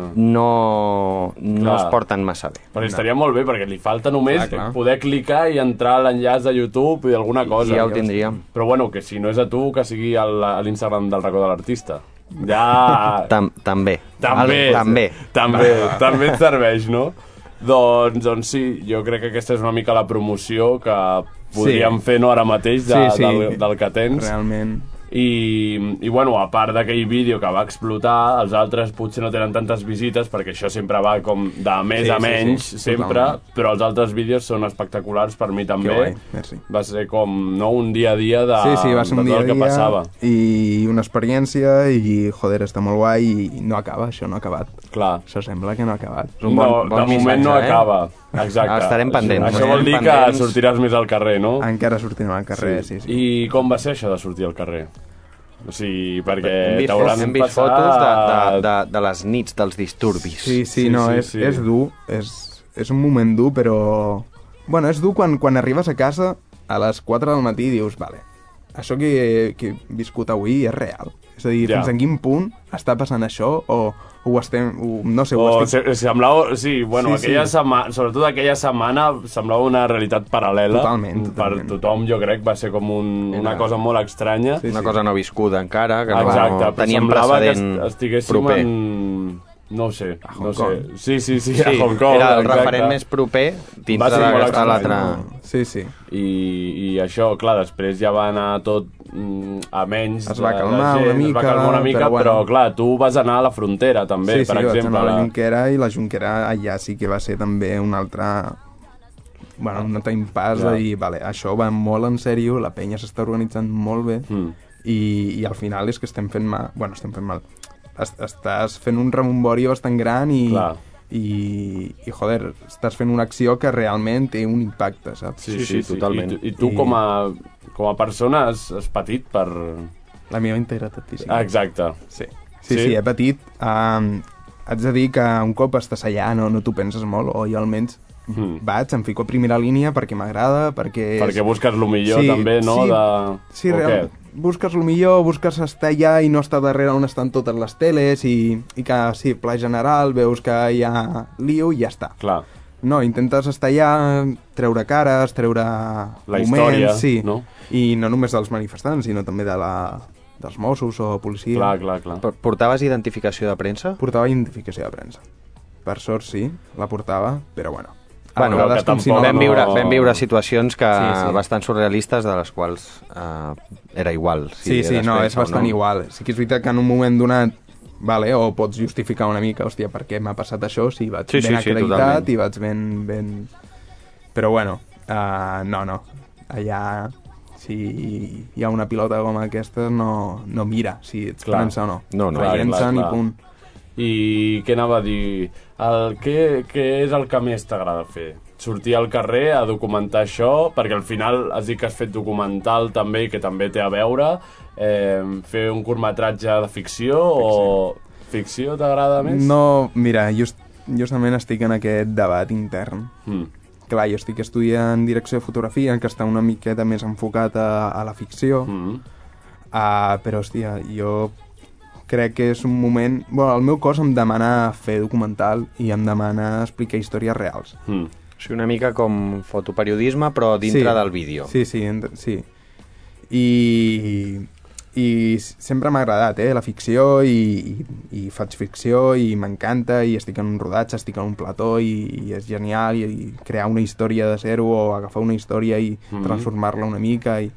S4: no, no
S3: Clar.
S4: es porten massa bé.
S3: Però estaria molt bé, perquè li falta només
S4: Ah,
S6: Clar, clar.
S3: poder clicar i entrar a l'enllaç de YouTube i alguna cosa.
S4: ja ho tindríem.
S3: Però bueno, que si no és a tu, que sigui al- a l'Instagram del racó de l'artista. Ja...
S4: Tam també.
S3: També,
S4: El, també. Ah,
S3: també, també et serveix, no? Doncs, doncs sí, jo crec que aquesta és una mica la promoció que podríem fer no ara mateix de,
S6: Sí, sí.
S3: Del, del que tens.
S6: Realment.
S3: I, i bueno, a part d'aquell vídeo que va explotar, els altres potser no tenen tantes visites perquè això sempre va com de més
S6: Sí,
S3: sí, a
S6: sí,
S3: menys,
S6: sí,
S3: sí, sí. sempre,
S6: totalment.
S3: però els altres vídeos són espectaculars per mi també.
S6: guai, merci.
S3: Va ser com no, un dia a dia de,
S6: Sí, sí, va ser un
S3: de tot Ah, doncs
S6: dia a
S3: el que
S6: dia
S3: passava.
S6: i una experiència i, joder, està molt guai i no acaba, això no ha acabat.
S3: Clar.
S6: Això sembla que no ha acabat.
S4: un bon-
S3: no, de
S4: bon
S3: moment no
S4: missatge, eh?
S3: acaba. Exacte.
S4: Estarem pendents.
S3: Això vol dir que
S4: Pendents.
S3: sortiràs més al carrer, no?
S6: Encara sortim al carrer, sí, sí.
S3: I com va ser això de sortir al carrer? O sigui, perquè
S4: Hem vist,
S3: t'hauran
S4: hem vist
S3: Eh, passat...
S4: fotos de, de, de, de les nits dels disturbis.
S6: Sí, sí,
S3: Sí,
S6: no,
S3: sí,
S6: és,
S3: sí.
S6: és dur, és, és un moment dur, però... Bueno, és dur quan, quan arribes a casa a les 4 del matí i dius, vale, això que, que he viscut avui és real. És a dir,
S3: Ja.
S6: fins en quin punt està passant això o ho estem... Ho, no sé, ho
S3: O
S6: estic...
S3: se- semblava, sí, bueno,
S6: Sí, sí.
S3: sí, aquella sí. setmana, sobretot aquella setmana semblava una realitat paral·lela.
S6: Totalment,
S3: Per
S6: totalment.
S3: tothom, jo crec, va ser com un, una cosa molt estranya.
S6: Sí,
S4: Una
S6: sí.
S4: cosa no viscuda encara, que no,
S3: Exacte,
S4: no
S3: però
S4: teníem
S3: semblava que
S4: precedent
S3: est- estiguéssim
S4: proper.
S3: en... No ho sé, a no
S6: Hong
S3: sé.
S6: Kong.
S3: Sí, sí, sí,
S4: Sí,
S3: a Hong Kong.
S4: era el
S3: exacte.
S4: referent més proper
S3: Va
S4: dintre
S3: ser molt
S4: d'aquesta l'altra...
S3: estrany.
S6: Sí, sí.
S3: I, I això, clar, després ja va anar tot mm, a menys...
S6: Es va
S3: de- de
S6: calmar
S3: gent,
S6: una
S3: Es va
S6: mica,
S3: calmar una mica,
S6: però
S3: però,
S6: bueno.
S3: clar, tu vas anar a la frontera, també,
S6: sí, sí,
S3: per
S6: vaig
S3: exemple.
S6: anar a la
S3: la-
S6: Junquera i la Junquera allà sí que va ser també un altre... Bueno, un altre impàs
S3: Ja.
S6: ja. i vale, això va molt en sèrio, la penya s'està organitzant molt bé
S3: Mm.
S6: i, i al final és que estem fent mal... Bueno, estem fent mal. Es, estàs fent un rebombori bastant gran i,
S3: Clar.
S6: i, i, joder, estàs fent una acció que realment té un impacte, saps?
S3: Sí,
S4: Sí,
S3: sí,
S4: sí,
S3: sí,
S4: totalment.
S3: I, tu- i tu
S6: I-
S3: com a, com a persona has, has patit per...
S6: La meva integritat física.
S3: Ah, exacte.
S6: Sí, sí,
S3: Sí?
S6: sí, he patit. Um, haig de dir que un cop estàs allà no, no t'ho penses molt, o jo almenys
S3: Mm.
S6: vaig, em fico a primera línia perquè m'agrada, perquè... Mhm. és-
S3: Perquè busques lo millor
S6: Sí,
S3: també, no?
S6: sí,
S3: de...
S6: Sí,
S3: o
S6: real,
S3: què?
S6: busques el millor, busques estar allà i no estar darrere on estan totes les teles i, i que, sí, pla general, veus que hi ha lío i ja està.
S3: Clar,
S6: No, intentes estar allà, treure cares, treure
S3: La
S6: moments,
S3: història,
S6: sí.
S3: no?
S6: I no només dels manifestants, sinó també de la, dels Mossos o policia.
S3: clar, clar, clar.
S4: Por- Portaves identificació de premsa?
S6: Portava identificació de premsa. Per sort sí, la portava, però bueno. A
S4: Bueno,
S6: vegades
S3: que
S6: com si
S3: tampoc
S6: no la-
S4: Vam
S3: no-
S4: viure, vam viure situacions que
S6: Sí, sí.
S4: bastant surrealistes de les quals eh, era igual.
S6: Sí, sí,
S4: eres
S6: no,
S4: premsa
S6: és
S4: o
S6: bastant
S4: no.
S6: igual. Sí que és veritat que en un moment donat vale, o pots justificar una mica, hòstia, per què m'ha passat això, si vaig
S4: Sí, sí,
S6: ben
S4: sí,
S6: acreditat
S4: totalment.
S6: i vaig ben... ben... Però bueno, uh, no, no. Allà, si hi ha una pilota com aquesta, no, no mira si ets
S3: Clar.
S6: premsa o no.
S4: No, no,
S6: La
S4: clar,
S3: clar,
S6: llencen
S3: clar.
S6: i punt.
S3: I què anava a dir? El, què, què és el que més t'agrada fer? Sortir al carrer a documentar això, perquè al final has dit que has fet documental també, que també té a veure, eh, fer un curtmetratge de ficció, o... Ficció t'agrada més?
S6: No, mira, just, justament estic en aquest debat intern.
S3: Mm.
S6: Clar, jo estic estudiant direcció de fotografia, que està una miqueta més enfocat a, a la ficció, mm.
S3: Mm.
S6: uh, però, hòstia, jo crec que és un moment... Bueno, el meu cos em demana fer documental i em demana explicar històries reals.
S3: Mm.
S4: O sigui, una mica com fotoperiodisme, però dintre
S6: Sí.
S4: del vídeo.
S6: Sí, sí, ent- sí. I, i s- sempre m'ha agradat, eh, la ficció, i, i, i faig ficció, i m'encanta, i estic en un rodatge, estic en un plató, i, i és genial, i, i crear una història de zero, o agafar una història i
S3: Mhm.
S6: transformar-la una mica, i,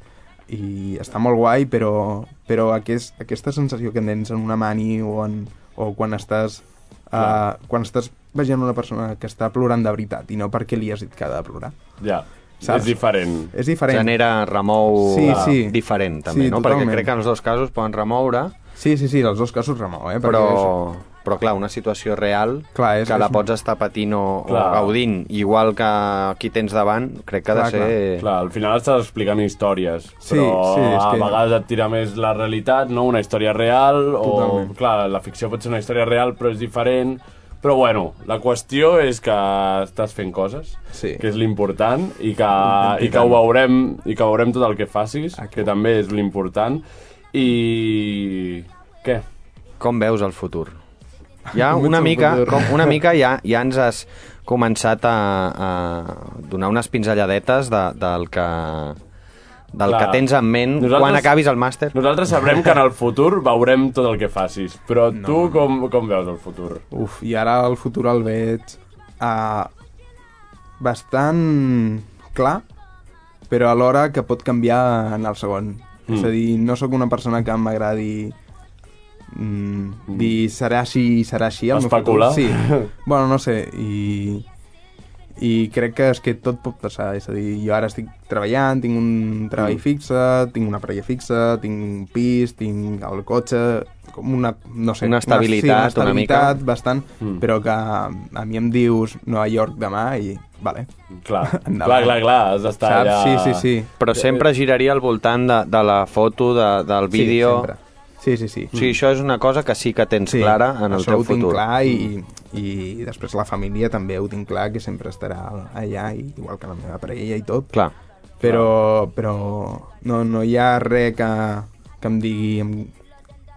S6: i està molt guai, però, però aquest, aquesta sensació que tens en una mani o, en, o quan estàs... eh, Uh, quan estàs veient una persona que està plorant de veritat i no perquè li has dit que ha de plorar
S3: Ja,
S6: Saps? Eh.
S3: És diferent.
S6: És diferent.
S4: Genera, remou
S6: Sí,
S4: eh,
S6: sí.
S4: diferent, també,
S6: Sí,
S4: no?
S6: totalment.
S4: Perquè crec que en els dos casos poden remoure,
S6: Sí, sí, sí, els dos casos remou, eh? Perquè
S4: però,
S6: és-
S4: però clar, una situació real
S6: Clar, és-
S4: que la
S6: és-
S4: pots estar patint o, o
S3: Clar.
S4: gaudint, igual que qui tens davant, crec que ha
S6: Clar,
S4: de ser...
S3: Clar, al final estàs explicant històries,
S6: Sí,
S3: però
S6: sí, és
S3: a
S6: que-
S3: vegades et tira més la realitat, no? Una història real,
S6: Totalment.
S3: o... Clar, la ficció pot ser una història real, però és diferent. Però bueno, la qüestió és que estàs fent coses,
S6: Sí.
S3: que és l'important, i, que, i que ho veurem, i que veurem tot el que facis, que també és l'important. I... Què?
S4: Com veus el futur? Ja
S6: Com
S4: una
S6: veus el
S4: mica,
S6: futur?
S4: com, una mica ja, ja ens has començat a, a donar unes pinzelladetes de, del que del
S3: Clar.
S4: que tens en ment
S3: Nosaltres-
S4: quan acabis el màster.
S3: Nosaltres sabrem que en el futur veurem tot el que facis, però no. tu com, com veus el futur?
S6: Uf, i ara el futur el veig uh, bastant clar, però alhora que pot canviar en el segon. Mm. És a dir, no sóc una persona que m'agradi mm, dir serà així i serà així. el meu
S3: Especular?
S6: futur". Sí, bueno, no sé, i, i crec que és que tot pot passar. És a dir, jo ara estic treballant, tinc un treball mm. fixe, tinc una parella fixa, tinc un pis, tinc el cotxe, com una, no sé,
S4: Una estabilitat,
S6: sí, una,
S4: una
S6: estabilitat
S4: mica.
S6: bastant, mm. però que a mi em dius Nova York demà i... Vale.
S3: Clar,
S6: Endavant.
S3: clar, clar, clar, has d'estar
S6: Saps?
S3: allà...
S6: Sí, sí, sí.
S3: Eh,
S4: Però sempre giraria al voltant de, de la foto, de, del vídeo...
S6: Sí, sempre. sí, sí, sí.
S4: O sigui, això és una cosa que sí que tens
S6: Mm. sí.
S4: clara en el
S6: Això
S4: teu
S6: ho tinc
S4: futur. Mm.
S6: clar i, i després la família també ho tinc clar que sempre estarà allà, i, igual que la meva parella i tot.
S4: Clar.
S6: Però, però no, no hi ha res que, que em digui em,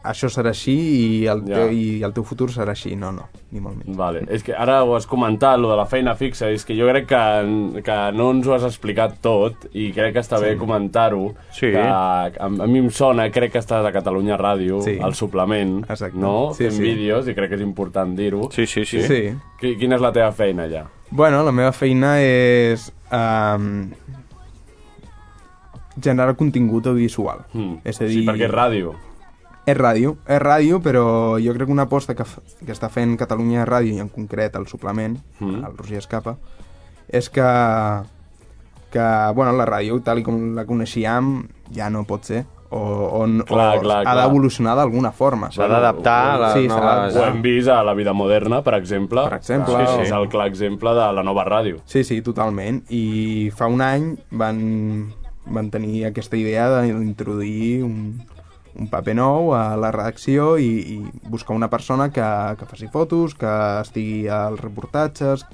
S6: això serà així i el,
S3: Ja.
S6: teu, i el teu futur serà així. No, no, ni molt menys.
S3: Vale. És que ara ho has comentat, lo de la feina fixa, és que jo crec que, que no ens ho has explicat tot i crec que està bé comentar-ho.
S4: Sí.
S3: Que a, a mi em sona, crec que estàs a Catalunya Ràdio,
S6: Sí.
S3: al suplement,
S6: Exacte.
S3: no?
S6: Sí,
S3: Fent
S6: sí.
S3: vídeos i crec que és important dir-ho.
S4: Sí, sí, sí.
S6: sí.
S3: Qui- Quina és la teva feina allà?
S6: Bueno, la meva feina és um, generar contingut audiovisual.
S3: Mm.
S6: És a dir,
S3: Sí, perquè és ràdio.
S6: és ràdio. És ràdio, però jo crec que una aposta que, f- que està fent Catalunya Ràdio, i en concret el suplement,
S3: Mm.
S6: mm. el Roger Escapa, és que, que bueno, la ràdio, tal i com la coneixíem, ja no pot ser. O, o, n-
S3: Clar,
S6: o
S3: clar,
S6: ha
S3: clar.
S6: d'evolucionar d'alguna forma.
S4: S'ha d'adaptar a la
S6: Sí, s'ha
S4: nova...
S6: d'adaptar.
S3: Ho hem vist a la vida moderna, per exemple.
S6: Per exemple,
S3: Sí, sí.
S6: o-
S3: És el clar exemple de la nova ràdio.
S6: Sí, sí, totalment. I fa un any van, van tenir aquesta idea d'introduir un, un paper nou a la redacció i, i buscar una persona que, que faci fotos, que estigui als reportatges...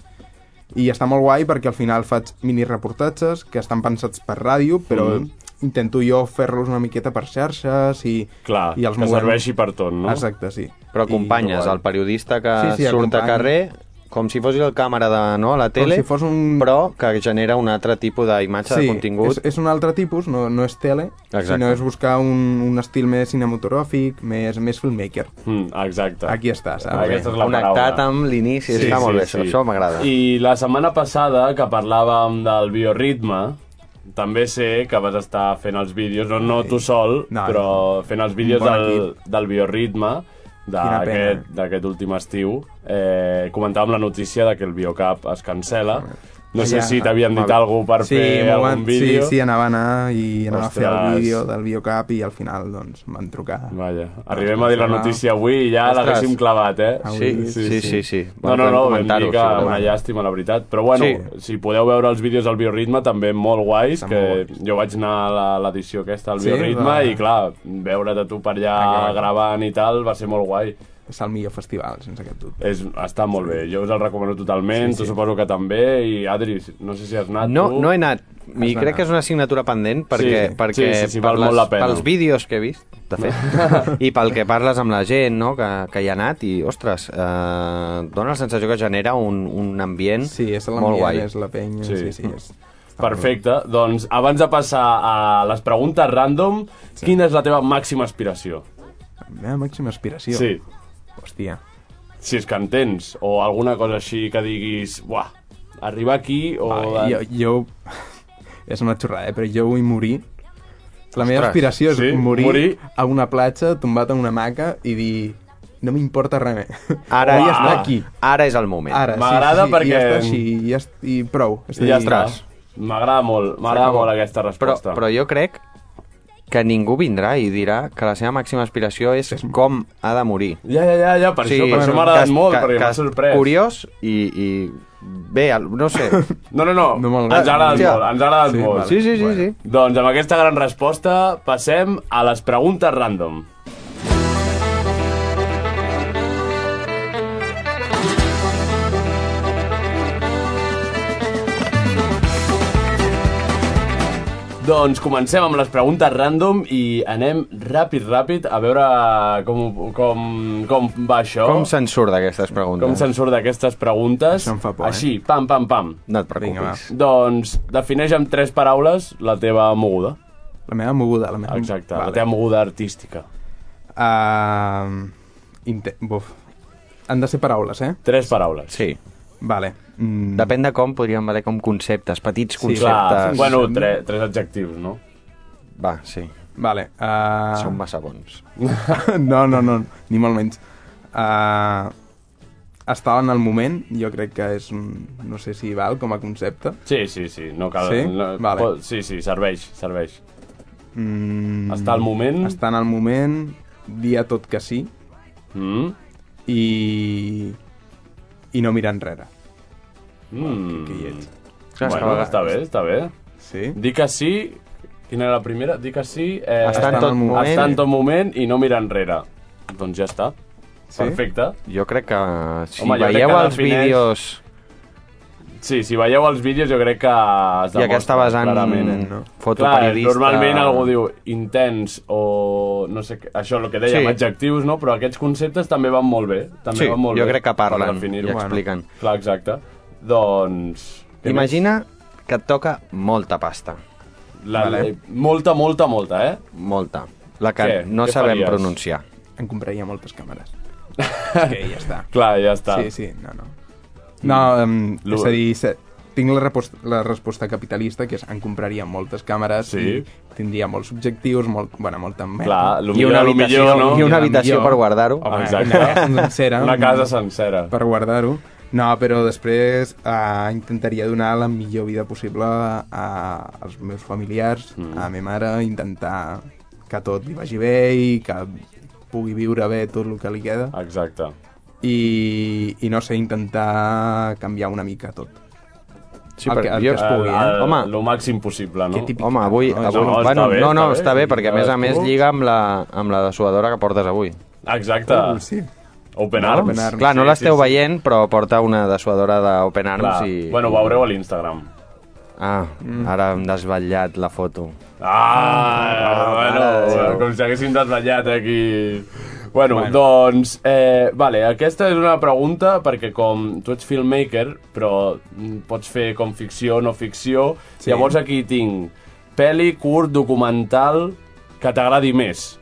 S6: I està molt guai perquè al final faig mini-reportatges que estan pensats per ràdio, però
S3: Mhm.
S6: intento jo fer-los una miqueta per xarxes i,
S3: Clar,
S6: i els
S3: que
S6: movem-
S3: serveixi per tot, no?
S6: Exacte, sí.
S4: Però
S6: I-
S4: acompanyes
S3: guai.
S4: el periodista que
S6: Sí, sí,
S4: surt
S6: acompanyo.
S4: a carrer com si fos el càmera de, no, a la tele,
S6: si fos un-
S4: però que genera un altre tipus d'imatge, de
S6: És,
S4: contingut.
S6: és un altre tipus, no, no és tele,
S4: Exacte.
S6: sinó és buscar un, un estil més cinematogràfic, més, més filmmaker.
S3: Mm, exacte.
S6: Aquí està, saps?
S3: Aquesta és la
S4: Connectat
S3: paraula.
S4: amb l'inici,
S3: Sí,
S4: està
S3: sí,
S4: molt bé, això,
S3: sí.
S4: això m'agrada.
S3: I la setmana passada, que parlàvem del bioritme, també sé que vas estar fent els vídeos, no, no tu sol,
S6: No,
S3: però
S6: no.
S3: fent els vídeos
S6: Un bon
S3: del, del bioritme
S6: Quina pena.
S3: d'aquest d'aquest últim estiu. Eh, comentàvem la notícia de que el Biocap es cancela. No sé
S6: Ja.
S3: si t'havien dit
S4: Mal.
S3: alguna cosa per fer
S6: m'ho
S3: algun
S6: van-
S3: vídeo.
S6: sí, sí, anava a anar i anava a fer
S3: Ostres.
S6: el vídeo del biocap i al final doncs m'han trucat.
S3: Vaja, arribem a dir la
S6: Cancela.
S3: notícia avui i ja
S4: Ostres.
S3: l'haguéssim clavat, eh?
S4: Sí, sí, sí, sí. sí.
S3: No, no, no, vam dir que
S4: segurament.
S3: una llàstima, la veritat. Però bueno, sí.
S4: Sí.
S3: si podeu veure els vídeos al Bioritme, també molt guais,
S6: Estan
S3: que
S6: molt
S3: jo vaig anar a la- l'edició aquesta al
S6: Sí?
S3: Bioritme
S6: Va.
S3: i clar, veure't a tu per allà
S6: Ah, clar.
S3: gravant i tal va ser molt guai.
S6: És el millor festival, sense cap dubte.
S3: És, està molt bé, jo us el recomano totalment, sí,
S6: Sí,
S3: sí. tu
S6: sí.
S3: suposo que també, i Adri, no sé si has anat
S4: No,
S3: tu.
S4: no he anat. I
S6: Has
S4: crec
S6: d'anar.
S4: que és una assignatura pendent perquè,
S3: Sí,
S4: perquè
S3: sí, sí, sí, val
S4: per
S3: molt la pena.
S4: pels vídeos que he vist, de fet, i pel que parles amb la gent no, que, que hi ha anat i, ostres, eh, dona la sensació que genera un, un ambient
S6: Sí, és
S4: Mm. molt guai.
S6: l'ambient, és la penya,
S3: Sí.
S6: sí, sí. sí és,
S3: Perfecte, doncs abans de passar a les preguntes random, sí. quina és la teva màxima aspiració?
S6: La meva màxima aspiració.
S3: Sí,
S6: Hòstia.
S3: si és que en tens, o alguna cosa així que diguis, buah, arribar aquí o...
S6: Ai, jo, jo... És una xorrada, eh? però jo vull morir. La meva
S4: Ostres,
S6: aspiració és
S3: sí,
S6: morir,
S3: morir.
S6: a una platja, tombat en una hamaca i dir... No m'importa res més.
S4: Ara,
S6: Vull
S3: Uah.
S6: estar aquí.
S4: Ara és el moment.
S6: Ara, sí,
S3: M'agrada
S6: sí, sí,
S3: perquè-
S6: I ja està així, i, ja, est- i prou. És a
S3: I ja
S6: dir,
S3: està. M'agrada molt, m'agrada molt aquesta
S4: Però,
S3: resposta.
S4: però jo crec que ningú vindrà i dirà que la seva màxima aspiració és com ha de morir.
S3: Ja, ja, ja, ja per,
S4: Sí,
S3: això, per això
S4: bueno,
S3: m'ha agradat
S4: cas-
S3: molt,
S4: ca-
S3: perquè m'ha
S4: cas
S3: sorprès.
S4: Curiós i, i bé, el- no sé.
S3: No, no, no,
S6: No
S3: ens
S6: me'l-
S3: ha agradat
S4: Hòstia.
S3: molt, ens ha agradat
S6: Sí,
S3: molt.
S6: vale.
S4: sí, sí, sí,
S6: Bueno.
S4: sí.
S3: Doncs amb aquesta gran resposta passem a les preguntes random. Doncs comencem amb les preguntes random i anem ràpid, ràpid a veure com, com, com va això.
S4: Com se'n surt d'aquestes preguntes?
S3: com se'n surt d'aquestes preguntes.
S6: Això em fa por, eh?
S3: Així, pam, pam, pam.
S4: No et preocupis.
S6: Vinga, va.
S3: Doncs defineix amb tres paraules la teva moguda.
S6: La meva moguda, la meva...
S3: Exacte, vale. la
S6: Vale.
S3: teva moguda artística.
S6: Uh, inte... Buf. Han de ser paraules, eh?
S3: Tres paraules.
S4: Sí.
S6: Vale. Mm,
S4: Depèn de com, podríem valer com conceptes, petits
S6: Sí,
S3: Clar,
S4: conceptes.
S3: bueno, tre, tres adjectius, no?
S4: Va, sí.
S6: Vale. Uh...
S4: Som massa bons.
S6: no, no, no, ni molt menys. Uh, estar en el moment, jo crec que és un... No sé si val com a concepte.
S3: Sí, sí, sí, no cal...
S6: Sí?
S3: No,
S6: Vale.
S3: pot- sí, sí, serveix, serveix.
S6: Mm,
S3: Està al moment...
S6: estar en el moment, dir a tot que sí
S3: Mm?
S6: i, i no mirar enrere.
S3: Mm.
S6: Que hi ets.
S4: Clar, és que a
S3: Bueno,
S4: vegades-
S3: està bé, està bé.
S6: Sí?
S3: Dir que sí... Quina era la primera? Dir que sí... Eh,
S4: Estar en
S6: Estar
S4: tot
S6: en el moment.
S4: moment.
S3: estar en tot moment i no mirar enrere. Doncs ja està.
S6: Sí?
S3: Perfecte.
S4: Jo crec que si
S3: Home,
S4: Home,
S3: jo crec
S4: veieu
S3: que
S4: els
S3: defineix-
S4: vídeos
S3: Sí, si veieu els vídeos jo crec que es
S4: i aquesta
S3: demostra
S4: vessant
S3: clarament.
S6: no?
S3: Clar,
S4: fotoperiodista...
S3: normalment algú diu intens o no sé, què- això el que dèiem,
S4: Sí.
S3: sí. adjectius, no? Però aquests conceptes també van molt bé. També
S4: Sí,
S3: van molt
S4: jo
S3: bé
S4: crec que
S3: per
S4: parlen i
S3: definir-ho.
S4: expliquen. Bueno.
S3: Clar, exacte. Doncs... què
S4: Imagina que et toca molta pasta.
S3: més? La, vale. Molta, molta, molta, eh?
S4: Molta. La que
S3: Què?
S4: no
S3: Què
S4: sabem
S3: faries?
S4: pronunciar.
S6: En compraria moltes càmeres. Sí, ja està.
S3: Clar, ja està.
S6: Sí, sí, no, no. No, um,
S3: Mm. Lo-
S6: és a dir, se- tinc la, repost, la resposta capitalista, que és en compraria moltes càmeres,
S3: Sí.
S6: i tindria molts objectius, molt, bueno, molta merda.
S3: Clar, lo millor, lo millor, Ah, no?
S4: i una
S6: Lo
S4: habitació
S6: millor.
S4: per guardar-ho.
S6: Home,
S3: Exacte.
S6: una casa sencera.
S3: Una casa sencera.
S6: Per guardar-ho. No, però després uh, intentaria donar la millor vida possible a, als meus familiars, mm. a ma mare, intentar que tot li vagi bé i que pugui viure bé tot el que li queda
S3: Ah. Exacte.
S6: i, i no sé, intentar canviar una mica tot.
S4: Sí,
S6: el
S4: per,
S6: que- el
S4: Ah, jo,
S6: que es pugui, eh?
S3: El,
S4: Home,
S3: Lo màxim possible, no?
S6: Que típic.
S4: home, avui...
S6: No,
S4: avui
S3: no,
S4: no,
S3: està
S4: bueno,
S3: bé,
S4: no, no,
S3: està
S4: està
S3: bé.
S4: bé, perquè a més a més
S3: Cadascú.
S4: lliga amb la, amb la dessuadora que portes avui.
S3: Exacte.
S6: Uh, sí.
S3: Open
S6: No?
S3: Arms.
S6: Open Arms.
S4: Clar, no
S3: Sí,
S4: l'esteu
S3: sí, sí.
S4: veient, però porta una dessuadora d'Open Arms
S3: Clar.
S4: i...
S3: Bueno, ho veureu a l'Instagram.
S4: Ah, ara hem desvetllat la foto.
S3: Ah, bueno,
S4: Déu.
S3: com si haguéssim desvetllat aquí. Bueno, bueno. doncs, eh, vale, aquesta és una pregunta perquè com tu ets filmmaker, però mm, pots fer com ficció o no ficció, sí. llavors aquí tinc pel·li, curt, documental, que t'agradi més,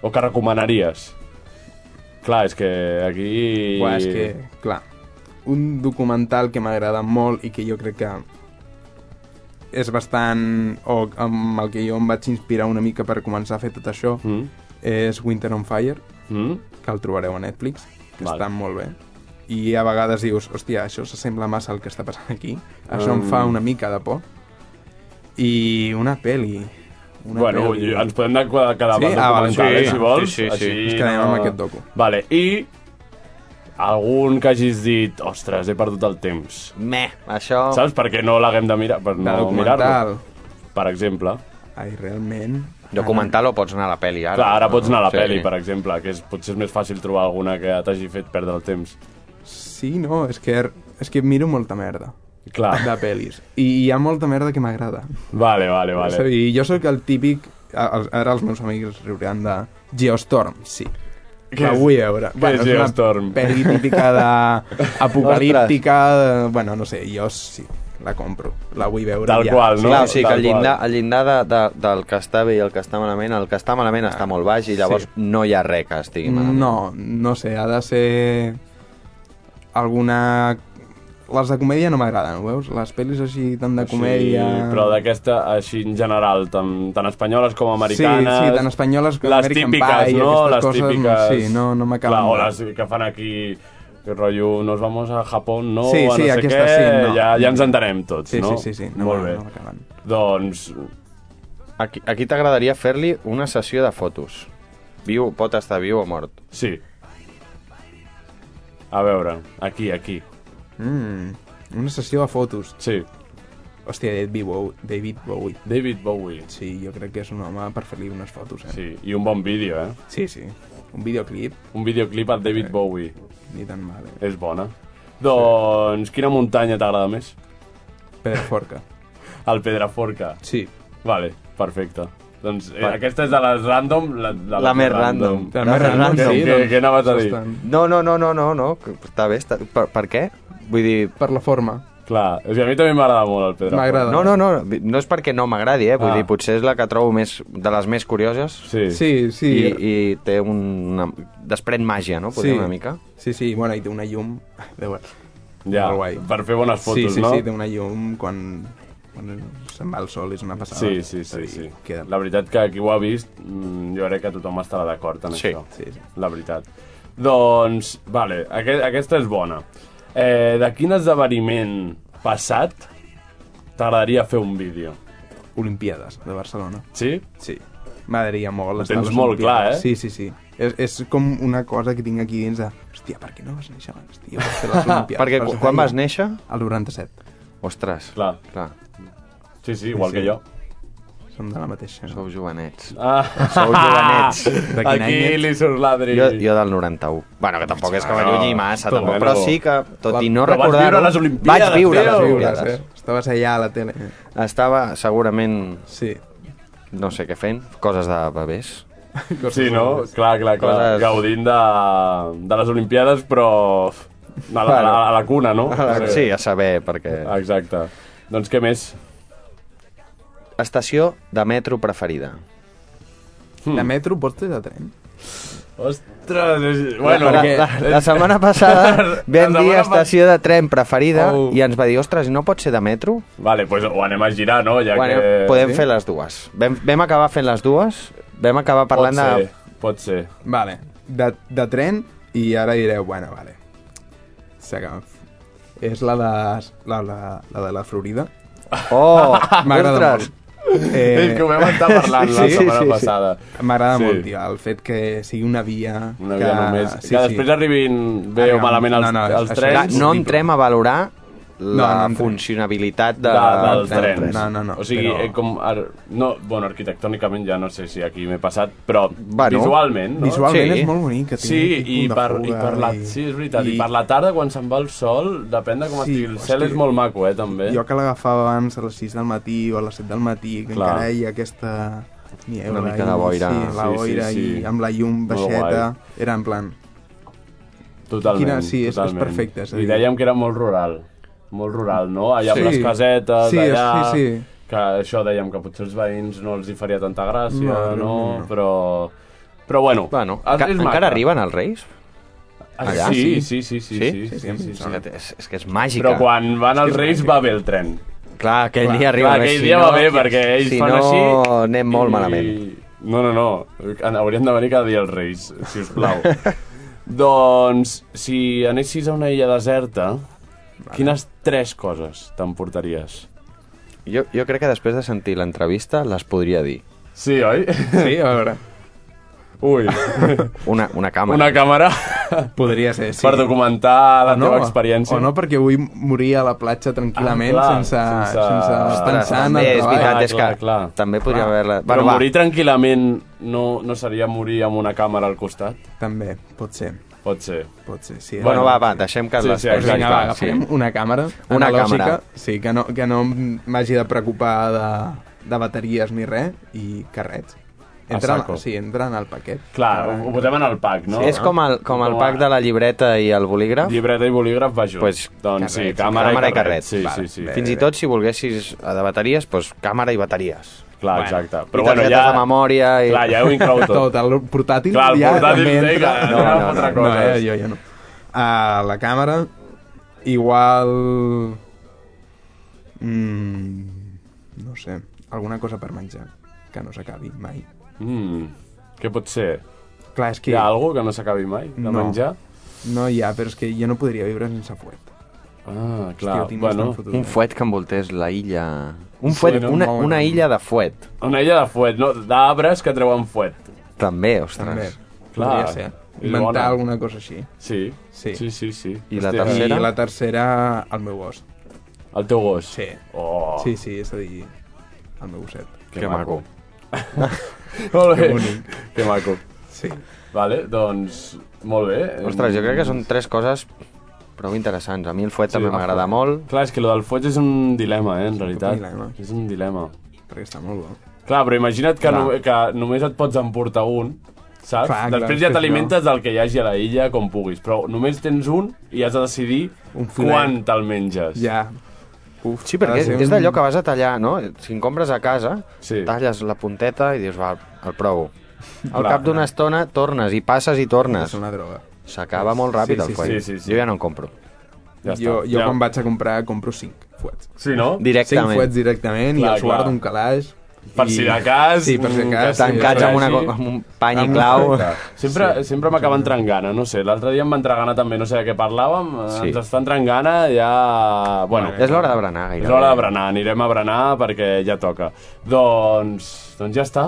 S3: o que recomanaries. Clar, és que aquí...
S6: Uà, és que, clar, un documental que m'agrada molt i que jo crec que és bastant... o amb el que jo em vaig inspirar una mica per començar a fer tot això,
S3: Mm?
S6: és Winter on Fire,
S3: Mm?
S6: que el trobareu a Netflix, que
S3: Val.
S6: Val. està molt bé. I a vegades dius, hòstia, això s'assembla massa al que està passant aquí. Això em
S3: Mm.
S6: fa una mica de por. I una peli... Una
S3: Bueno,
S6: peli.
S3: ens podem anar cada, cada
S6: Sí?
S3: sí?
S6: Ah, vale,
S3: documental,
S6: sí.
S3: eh, si vols.
S4: Sí, sí, sí.
S3: Així
S6: Ens quedem
S3: no-
S6: amb aquest docu.
S3: Vale, i algun que hagis dit, ostres, he perdut el temps.
S4: Meh, això...
S3: Saps per què no l'haguem de mirar? Per
S6: de
S3: no mirar-lo,
S6: documental.
S3: per exemple.
S6: Ai, realment...
S4: Documental o pots anar a la pel·li, ara.
S3: Clar, ara pots anar a la
S4: Sí.
S3: peli, per exemple, que és, potser és més fàcil trobar alguna que t'hagi fet perdre el temps.
S6: Ah, Sí, no, és que, és que miro molta merda
S3: Clar,
S6: de pel·lis. I hi ha molta merda que m'agrada.
S3: vale, vale,
S6: És a
S3: vale.
S6: dir, jo sóc el típic... el- Ara els meus amics es riuran de... Geostorm, sí.
S3: Què
S6: la
S3: és-
S6: vull veure.
S3: què és Geostorm?
S6: una pel·li típica de... apocalíptica... de... Bueno, no sé, jo sí, la compro. La vull veure
S3: Tal
S6: ja.
S3: qual, no?
S4: Clar, o sigui que
S3: Tal
S4: el
S3: qual.
S4: llindar, el llindar de, de, del que està bé i el que està malament, el que està malament està molt baix i llavors
S6: sí.
S4: no hi ha res que estigui malament.
S6: No, no sé, ha de ser... Alguna... Les de comèdia no m'agraden, ho veus? Les pel·lis així tant de comèdia...
S3: Sí, però d'aquesta, així en general, tant, tant espanyoles com americanes...
S6: Sí, sí, tant espanyoles com
S3: les
S6: American
S3: típiques,
S6: Pie i
S3: no?
S6: aquestes
S3: Les
S6: coses,
S3: típiques...
S6: sí, no- no m'acaben
S3: Clar, O
S6: de-
S3: les que fan aquí Que rotllo, nos vamos a Japón, no,
S6: Sí,
S3: a no
S6: sí,
S3: sé
S6: aquesta
S3: què,
S6: sí, no.
S3: ja, ja ens entenem tots,
S6: Sí,
S3: no?
S6: sí, sí, sí. No,
S3: Molt
S6: no,
S3: bé.
S6: no acabant.
S3: doncs,
S4: Aquí, aquí t'agradaria fer-li una sessió de fotos. Viu, pot estar viu o mort.
S3: sí. A veure, aquí, aquí.
S6: Mm, una sessió de fotos.
S3: Sí,
S6: Hòstia, David Bowie. David Bowie.
S3: David Bowie.
S6: Sí, jo crec que és un home per fer-li unes fotos, eh?
S3: Sí, i un bon vídeo, eh?
S6: sí. sí. Un videoclip,
S3: Un videoclip a David Bowie.
S6: ni tan mal, eh?
S3: És bona. Doncs, quina muntanya t'agrada més?
S6: Pedraforca.
S3: El Pedraforca.
S6: Sí.
S3: Vale, perfecte. Doncs eh,
S4: Va.
S3: aquesta és de les random... La, la,
S4: La més random.
S6: La
S4: No,
S6: més
S4: Fernando,
S6: random, sí, doncs,
S3: què- què anaves a dir?
S6: bastant.
S4: No, no, no, no, no, no. que Està bé, està... Per, per què? Vull dir...
S6: Per la forma.
S3: Clar, és que a mi també m'agrada molt el Pedraforca.
S6: M'agrada.
S4: No, no, no, no és perquè no m'agradi, eh? Vull
S3: Ah.
S4: dir, potser és la que trobo més, de les més curioses
S3: Sí. sí.
S6: Sí, sí.
S4: i, i té un... Una, desprèn màgia, no? Podríem una mica.
S6: Sí, sí, bueno, i té una llum... Déu,
S3: Ja,
S6: Molt guai.
S3: per fer bones fotos,
S6: sí, sí,
S3: no?
S6: sí, té una llum quan, quan se'n va el sol, és una passada.
S3: Sí, sí, sí,
S6: És a
S3: sí.
S6: dir, Queda...
S3: La veritat que qui ho ha vist, mm, jo crec que tothom estarà d'acord en
S4: Sí.
S3: això.
S6: Sí, sí.
S3: La veritat. Doncs, vale, aquest, aquesta és bona. Eh, de quin esdeveniment passat t'agradaria fer un vídeo?
S6: Olimpiades de Barcelona.
S3: Sí?
S6: Sí. M'agradaria molt estar a
S3: tens
S6: les
S3: molt clar,
S6: Olimpiades.
S3: eh?
S6: Sí, sí, sí. És, és com una cosa que tinc aquí dins de... Hòstia, per què no vas néixer abans, tio? Per fer les Olimpiades.
S4: Perquè
S6: Per
S4: quan,
S6: fer
S4: quan
S6: feina.
S4: vas néixer...
S6: Al 97.
S4: Ostres,
S3: Clar.
S4: clar
S3: Sí, sí, igual
S6: Sí,
S3: que
S6: sí.
S3: jo.
S6: Som de la mateixa.
S4: sou jovenets.
S3: Ah.
S4: Sou jovenets.
S6: De quin any
S3: Aquí
S6: ets?
S3: li surt l'Adri.
S4: Jo, jo del 91. Bueno, que tampoc és que m'allunyi massa,
S3: tu,
S4: tampoc,
S3: bueno.
S4: però sí que, tot i no
S3: Però vas
S4: recordar-ho...
S3: viure les Olimpiades,
S4: Vaig viure
S3: tio.
S4: les
S3: Vas viure,
S4: Olimpiades.
S6: eh? Estaves allà a la tele.
S4: Estava segurament,
S6: Sí.
S4: no sé què fent, coses de bebès.
S3: Sí, no? Clar, clar, clar.
S4: Coses-
S3: Gaudint de, de les Olimpiades, però... A la, a la, a la cuna, no?
S4: Sí, a saber, perquè...
S3: Exacte. Doncs què més?
S4: Estació de metro preferida.
S3: Hmm.
S6: De metro pots fer de tren.
S3: Ostres, és... bueno,
S4: la,
S3: perquè...
S4: la, la setmana passada
S3: La
S4: vam
S3: setmana
S4: dir
S3: pas-
S4: estació de tren preferida
S6: Oh.
S4: i ens va dir, ostres, no pot ser de metro?
S3: Vale, doncs pues ho anem a girar, no? Ja
S4: Bueno,
S3: que...
S4: podem fer les dues. Vam, vam acabar fent les dues, vam acabar parlant
S3: pot ser,
S4: de...
S3: Pot ser.
S6: Vale. De, de tren i ara direu, bueno, vale. S'acaba. És la de la, la, la de la Florida.
S4: Oh,
S6: M'agrada
S4: ostres!
S6: molt. Eh,
S3: Ah, És que ho vam estar parlant la setmana passada.
S6: M'agrada
S3: Sí.
S6: molt, tio, el fet que sigui una via...
S3: Una
S6: que...
S3: vida només. Sí, que després arribin bé o
S6: Arribem.
S3: malament els,
S6: No, no,
S3: els
S6: això-
S4: Clar,
S3: trens.
S4: no entrem a valorar la
S6: no entrem.
S4: funcionabilitat de,
S3: de, dels
S6: del
S3: trens.
S6: tren. No, no, no,
S3: O sigui,
S6: però-
S3: eh, com... Ar... No, bueno, arquitectònicament ja no sé si aquí m'he passat, però
S4: Bueno,
S3: visualment, no?
S6: Visualment
S4: Sí.
S6: és molt bonic. Que
S3: Sí, i per, i per la, sí, és veritat, i, per la tarda quan se'n va el sol, depèn de com
S6: Sí,
S3: estigui el cel,
S6: hosti.
S3: és molt maco, eh, també.
S6: Jo que l'agafava abans a les 6 del matí o a les 7 del matí, que
S3: Clar.
S6: encara hi ha aquesta niebla.
S4: Una mica
S6: i-
S4: de boira.
S6: Sí, la
S3: Sí, sí,
S6: boira
S3: sí.
S6: i amb la llum
S3: Molt
S6: baixeta. Era en plan...
S3: Totalment,
S6: Quina- sí, és- és
S3: totalment.
S6: perfecte, és a
S3: I
S6: dir-
S3: dèiem que era molt rural, molt rural, no? Allà
S6: Sí.
S3: amb les casetes,
S6: Sí,
S3: allà...
S6: sí, sí.
S3: Que això dèiem que potser els veïns no els hi faria tanta gràcia, no?
S6: No, no, no.
S3: Però... Però bueno,
S4: Bueno,
S3: és
S4: ca-
S3: maca.
S4: encara arriben els Reis?
S3: Ah,
S4: allà?
S3: Sí, sí, sí, sí,
S4: Sí?
S3: sí, sí, sí, sí,
S4: És, que, és, és que és màgica.
S3: Però quan van els Reis va bé el tren.
S4: Clar, aquell dia arriba.
S3: Clar,
S4: bé,
S3: aquell
S4: si
S3: dia
S4: no,
S3: va bé, perquè ells
S4: si
S3: fan
S4: no,
S3: així...
S4: anem molt
S3: i-
S4: malament.
S3: No, no, no. Haurien de venir cada dia els Reis, si us plau. doncs, si anessis a una illa deserta, quines tres coses t'emportaries?
S4: Jo, jo crec que després de sentir l'entrevista les podria dir.
S3: Sí, oi?
S6: Sí, a veure.
S3: Ui,
S4: Una, una càmera.
S3: una càmera
S6: Podria ser, sí.
S3: per documentar la
S6: O Ah, no,
S3: teva experiència.
S6: O no, perquè vull morir a la platja tranquil·lament
S3: Ah, clar,
S6: sense,
S3: sense-
S6: sense, sense
S4: Ostres,
S6: pensar en
S4: també,
S6: el
S4: és
S6: treball.
S4: veritat,
S3: Ah,
S4: és que
S3: clar, clar. Ah,
S4: també podria
S6: Clar.
S4: haver-la...
S3: Però
S4: Bueno, va,
S3: morir tranquil·lament no, no seria morir amb una càmera al costat?
S6: També, pot ser,
S3: Pot ser.
S6: pot ser. Sí,
S4: bueno,
S3: Bueno,
S4: va, va, deixem que
S3: sí,
S4: les...
S3: sí,
S6: Doncs vinga, va,
S3: exacte,
S6: agafem una càmera
S4: Una
S6: analògica,
S4: càmera.
S6: sí, que no, que no m'hagi de preocupar de, de bateries ni res, i carrets. Entra,
S3: saco.
S6: en, sí, entra en el paquet.
S3: Clar, ho, ho posem en el pack, no?
S4: Ah. És com el, com el pack de la llibreta i el bolígraf.
S3: Llibreta i bolígraf va junts.
S4: Pues,
S3: doncs sí,
S6: carret,
S3: càmera,
S4: càmera
S3: i
S4: i
S3: carret.
S4: carret.
S3: Sí,
S6: Vale,
S3: sí, sí.
S6: bé.
S4: Fins i tot si volguessis eh, de bateries, doncs càmera i bateries.
S3: Clar, exacte.
S4: I targetes de memòria i-
S3: Clar, ja ho inclou tot.
S6: Tot, el portàtil
S3: Clar, el
S6: ja
S3: portàtil,
S6: també
S3: sí,
S6: entra.
S3: clar, no, no,
S4: altra
S6: no,
S3: cosa.
S6: eh, jo ja no. Uh, la càmera, igual... Mm, no sé, alguna cosa per menjar, que no s'acabi mai.
S3: Mm, què pot ser?
S6: Clar, és que...
S3: Hi ha alguna que no s'acabi mai de
S6: No.
S3: menjar?
S6: No hi ha, però és que jo no podria viure sense fuet.
S3: Ah,
S6: Hòstia,
S3: clar.
S6: ho tinc
S3: bueno,
S6: bastant fotut,
S4: Un
S6: eh?
S4: fuet que envoltés la illa... Un fuet,
S3: no,
S4: una,
S6: molt
S4: una
S6: bé.
S4: illa de fuet,
S3: una illa de fuet, no? D'arbres que treuen fuet.
S4: també,
S6: També.
S4: ostres.
S3: Clar,
S6: Podria ser.
S3: és
S6: Inventar
S3: bona.
S6: alguna cosa així.
S3: Sí.
S6: Sí.
S3: Sí, sí, sí.
S4: I la
S3: Hòstia,
S4: tercera?
S6: I la tercera, el meu gos.
S3: El teu gos.
S6: Sí.
S3: Oh,
S6: Sí, sí, és a dir, el meu gosset.
S3: que, maco. Molt bé.
S6: Que bonic.
S3: Que maco.
S6: Sí.
S3: Vale, doncs, molt bé.
S4: Ostres, jo crec que són tres coses prou interessants. A mi el fuet també
S3: el
S4: m'agrada
S3: fuet.
S4: molt.
S3: Clar, és que lo del fuet és un dilema, eh, en realitat.
S6: dilema.
S3: És un dilema.
S6: Perquè està molt bo.
S3: Clar, però imagina't que,
S4: Clar.
S3: no, que només et pots emportar un, saps?
S6: Clar, clar,
S3: Després
S6: és
S3: ja
S6: que
S3: t'alimentes del que hi hagi a la illa com puguis, però només tens un i has de decidir
S6: Un filet.
S3: quan te'l menges.
S6: Ja. Uf,
S4: Sí, perquè és, és d'allò que vas a tallar, no? Si en compres a casa,
S3: Sí.
S4: talles la punteta i dius, va, el provo. Al
S3: Clar.
S4: cap d'una estona tornes i passes i
S6: És
S4: Ah, tornes.
S6: una droga.
S4: S'acaba molt ràpid
S6: Sí, sí,
S4: el fuet.
S3: sí, sí, sí.
S4: Jo ja no en compro.
S3: Ja està.
S6: jo jo
S3: ja.
S6: quan vaig a comprar, compro 5 fuets.
S3: Sí, no?
S6: Cinc fuets
S4: Directament.
S6: directament i
S3: Clar,
S6: els guardo
S3: clar.
S6: un calaix.
S3: Per
S6: i-
S3: si de cas,
S6: Sí, per si de
S3: un
S6: cas.
S3: cas
S4: Tancats
S3: sí,
S4: amb, una,
S3: sí.
S4: co- amb un pany i
S6: Amb-
S4: clau.
S3: Sempre, sí, sempre m'acaben entrant gana, no sé. L'altre dia em va entrar gana també, no sé de què parlàvem.
S4: Sí.
S3: Sí. Ens està entrant gana, ja... Bueno,
S4: És l'hora de berenar,
S3: és
S4: gairebé.
S3: l'hora de berenar, anirem a berenar perquè ja toca. Doncs, doncs ja està,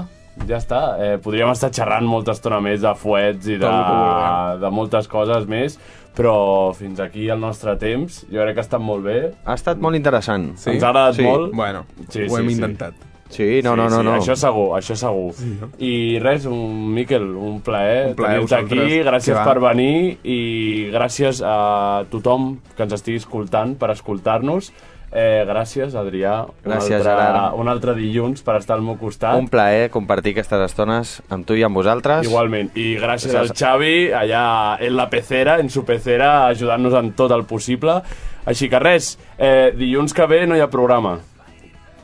S3: ja està. Eh, podríem estar xerrant molta estona més de fuets i de,
S6: Tot el que
S3: de moltes coses més, però fins aquí el nostre temps. Jo crec que ha estat molt bé.
S4: Ha estat molt interessant.
S6: Sí.
S3: Ens ha agradat
S4: Sí.
S3: molt.
S6: Bueno,
S3: Sí,
S6: ho
S3: sí,
S6: hem
S3: sí.
S6: intentat.
S4: Sí, no,
S3: Sí,
S4: no, no.
S3: sí,
S4: no.
S3: Això segur, això segur. Sí, no? I res, un, Miquel, un plaer,
S6: Un plaer
S3: tenir-te aquí,
S6: vosaltres.
S3: gràcies
S6: Que va.
S3: per venir i gràcies a tothom que ens estigui escoltant per escoltar-nos. Eh, gràcies, Adrià.
S4: Gràcies,
S3: un altre,
S4: Gerard.
S3: Un altre dilluns per estar al meu costat.
S4: Un plaer compartir aquestes estones amb tu i amb vosaltres.
S3: Igualment. I gràcies al
S4: Gràcies.
S3: Xavi, allà en la pecera, en su pecera, ajudant-nos en tot el possible. Així que res, eh, dilluns que ve no hi ha programa.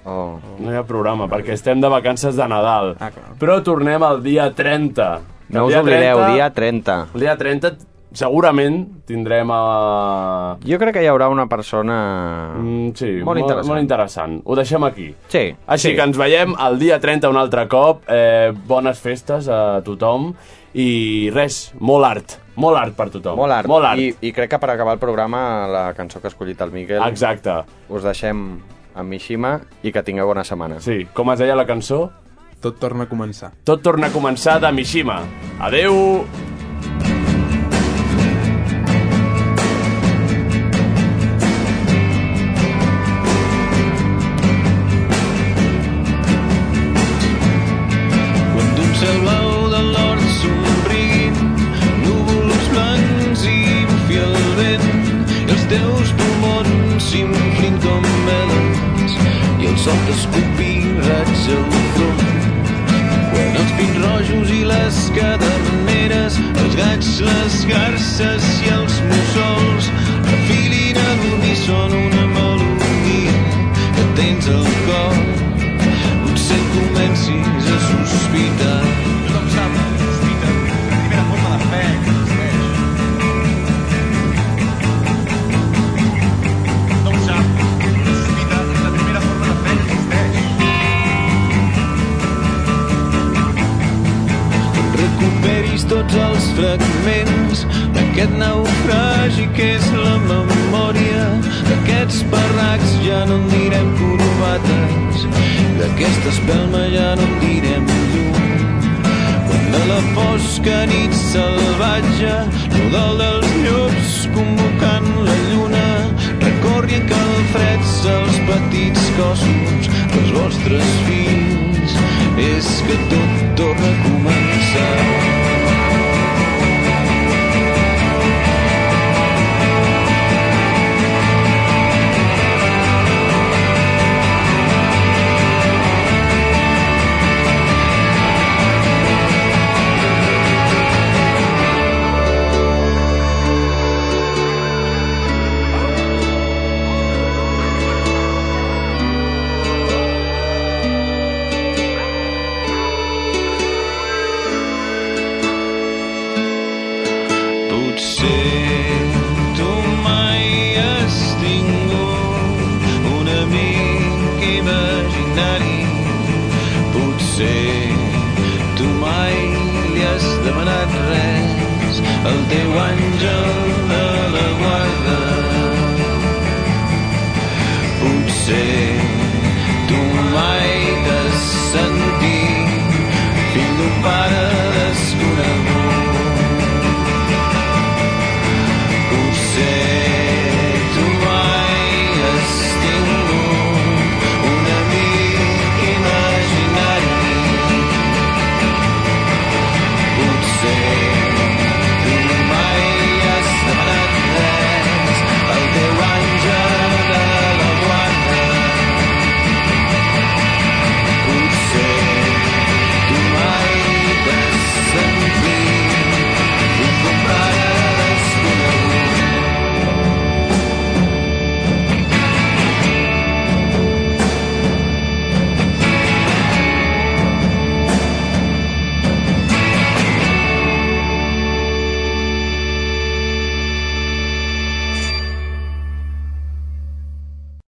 S4: Oh.
S3: No hi ha programa, perquè estem de vacances de Nadal.
S6: Ah, clar.
S3: Però tornem al dia 30. El
S4: No us
S3: dia
S4: oblideu,
S3: 30,
S4: dia 30.
S3: El dia 30 segurament tindrem a...
S4: Jo crec que hi haurà una persona...
S3: Mm, sí,
S4: Molt interessant.
S3: molt interessant. Ho deixem aquí.
S4: Sí,
S3: Així
S4: sí.
S3: que ens veiem el dia 30 un altre cop. Eh, bones festes a tothom. I res, molt art. Molt art per tothom.
S4: Molt art.
S3: Molt art.
S4: I, I crec que per acabar el programa, la cançó que ha escollit el Miquel,
S3: Exacte.
S4: us deixem amb Mishima i que tingueu bona setmana.
S3: Sí, com es deia la cançó?
S6: Tot torna a començar.
S3: Tot torna a començar de Mishima. Adeu!
S7: Quan d'un cel blau de l'hort somriguin núvols blancs i bufi el vent i els teus pulmons s'inflin com melons i el sol t'escopí raig al front. Quan els pins rojos i les caderneres, els gats, les garces i els mussols refilin a dormir són una melodia que tens al cor. Potser comencis a sospitar. Tothom sap, sospita, la primera forma de fe que existeix. Tothom sap, sospita, la primera forma de fe que existeix. recuperis tots els fragments d'aquest naufragi que és la memòria d'aquests barracs ja no en direm corbates d'aquesta espelma ja no en direm llum quan de la fosca nit salvatge rodol dels llops convocant la lluna recorrien calfreds els petits cossos dels vostres fills és que tot torna a començar Potser tu mai has tingut un amic imaginari. Potser tu mai li has demanat res al teu àngel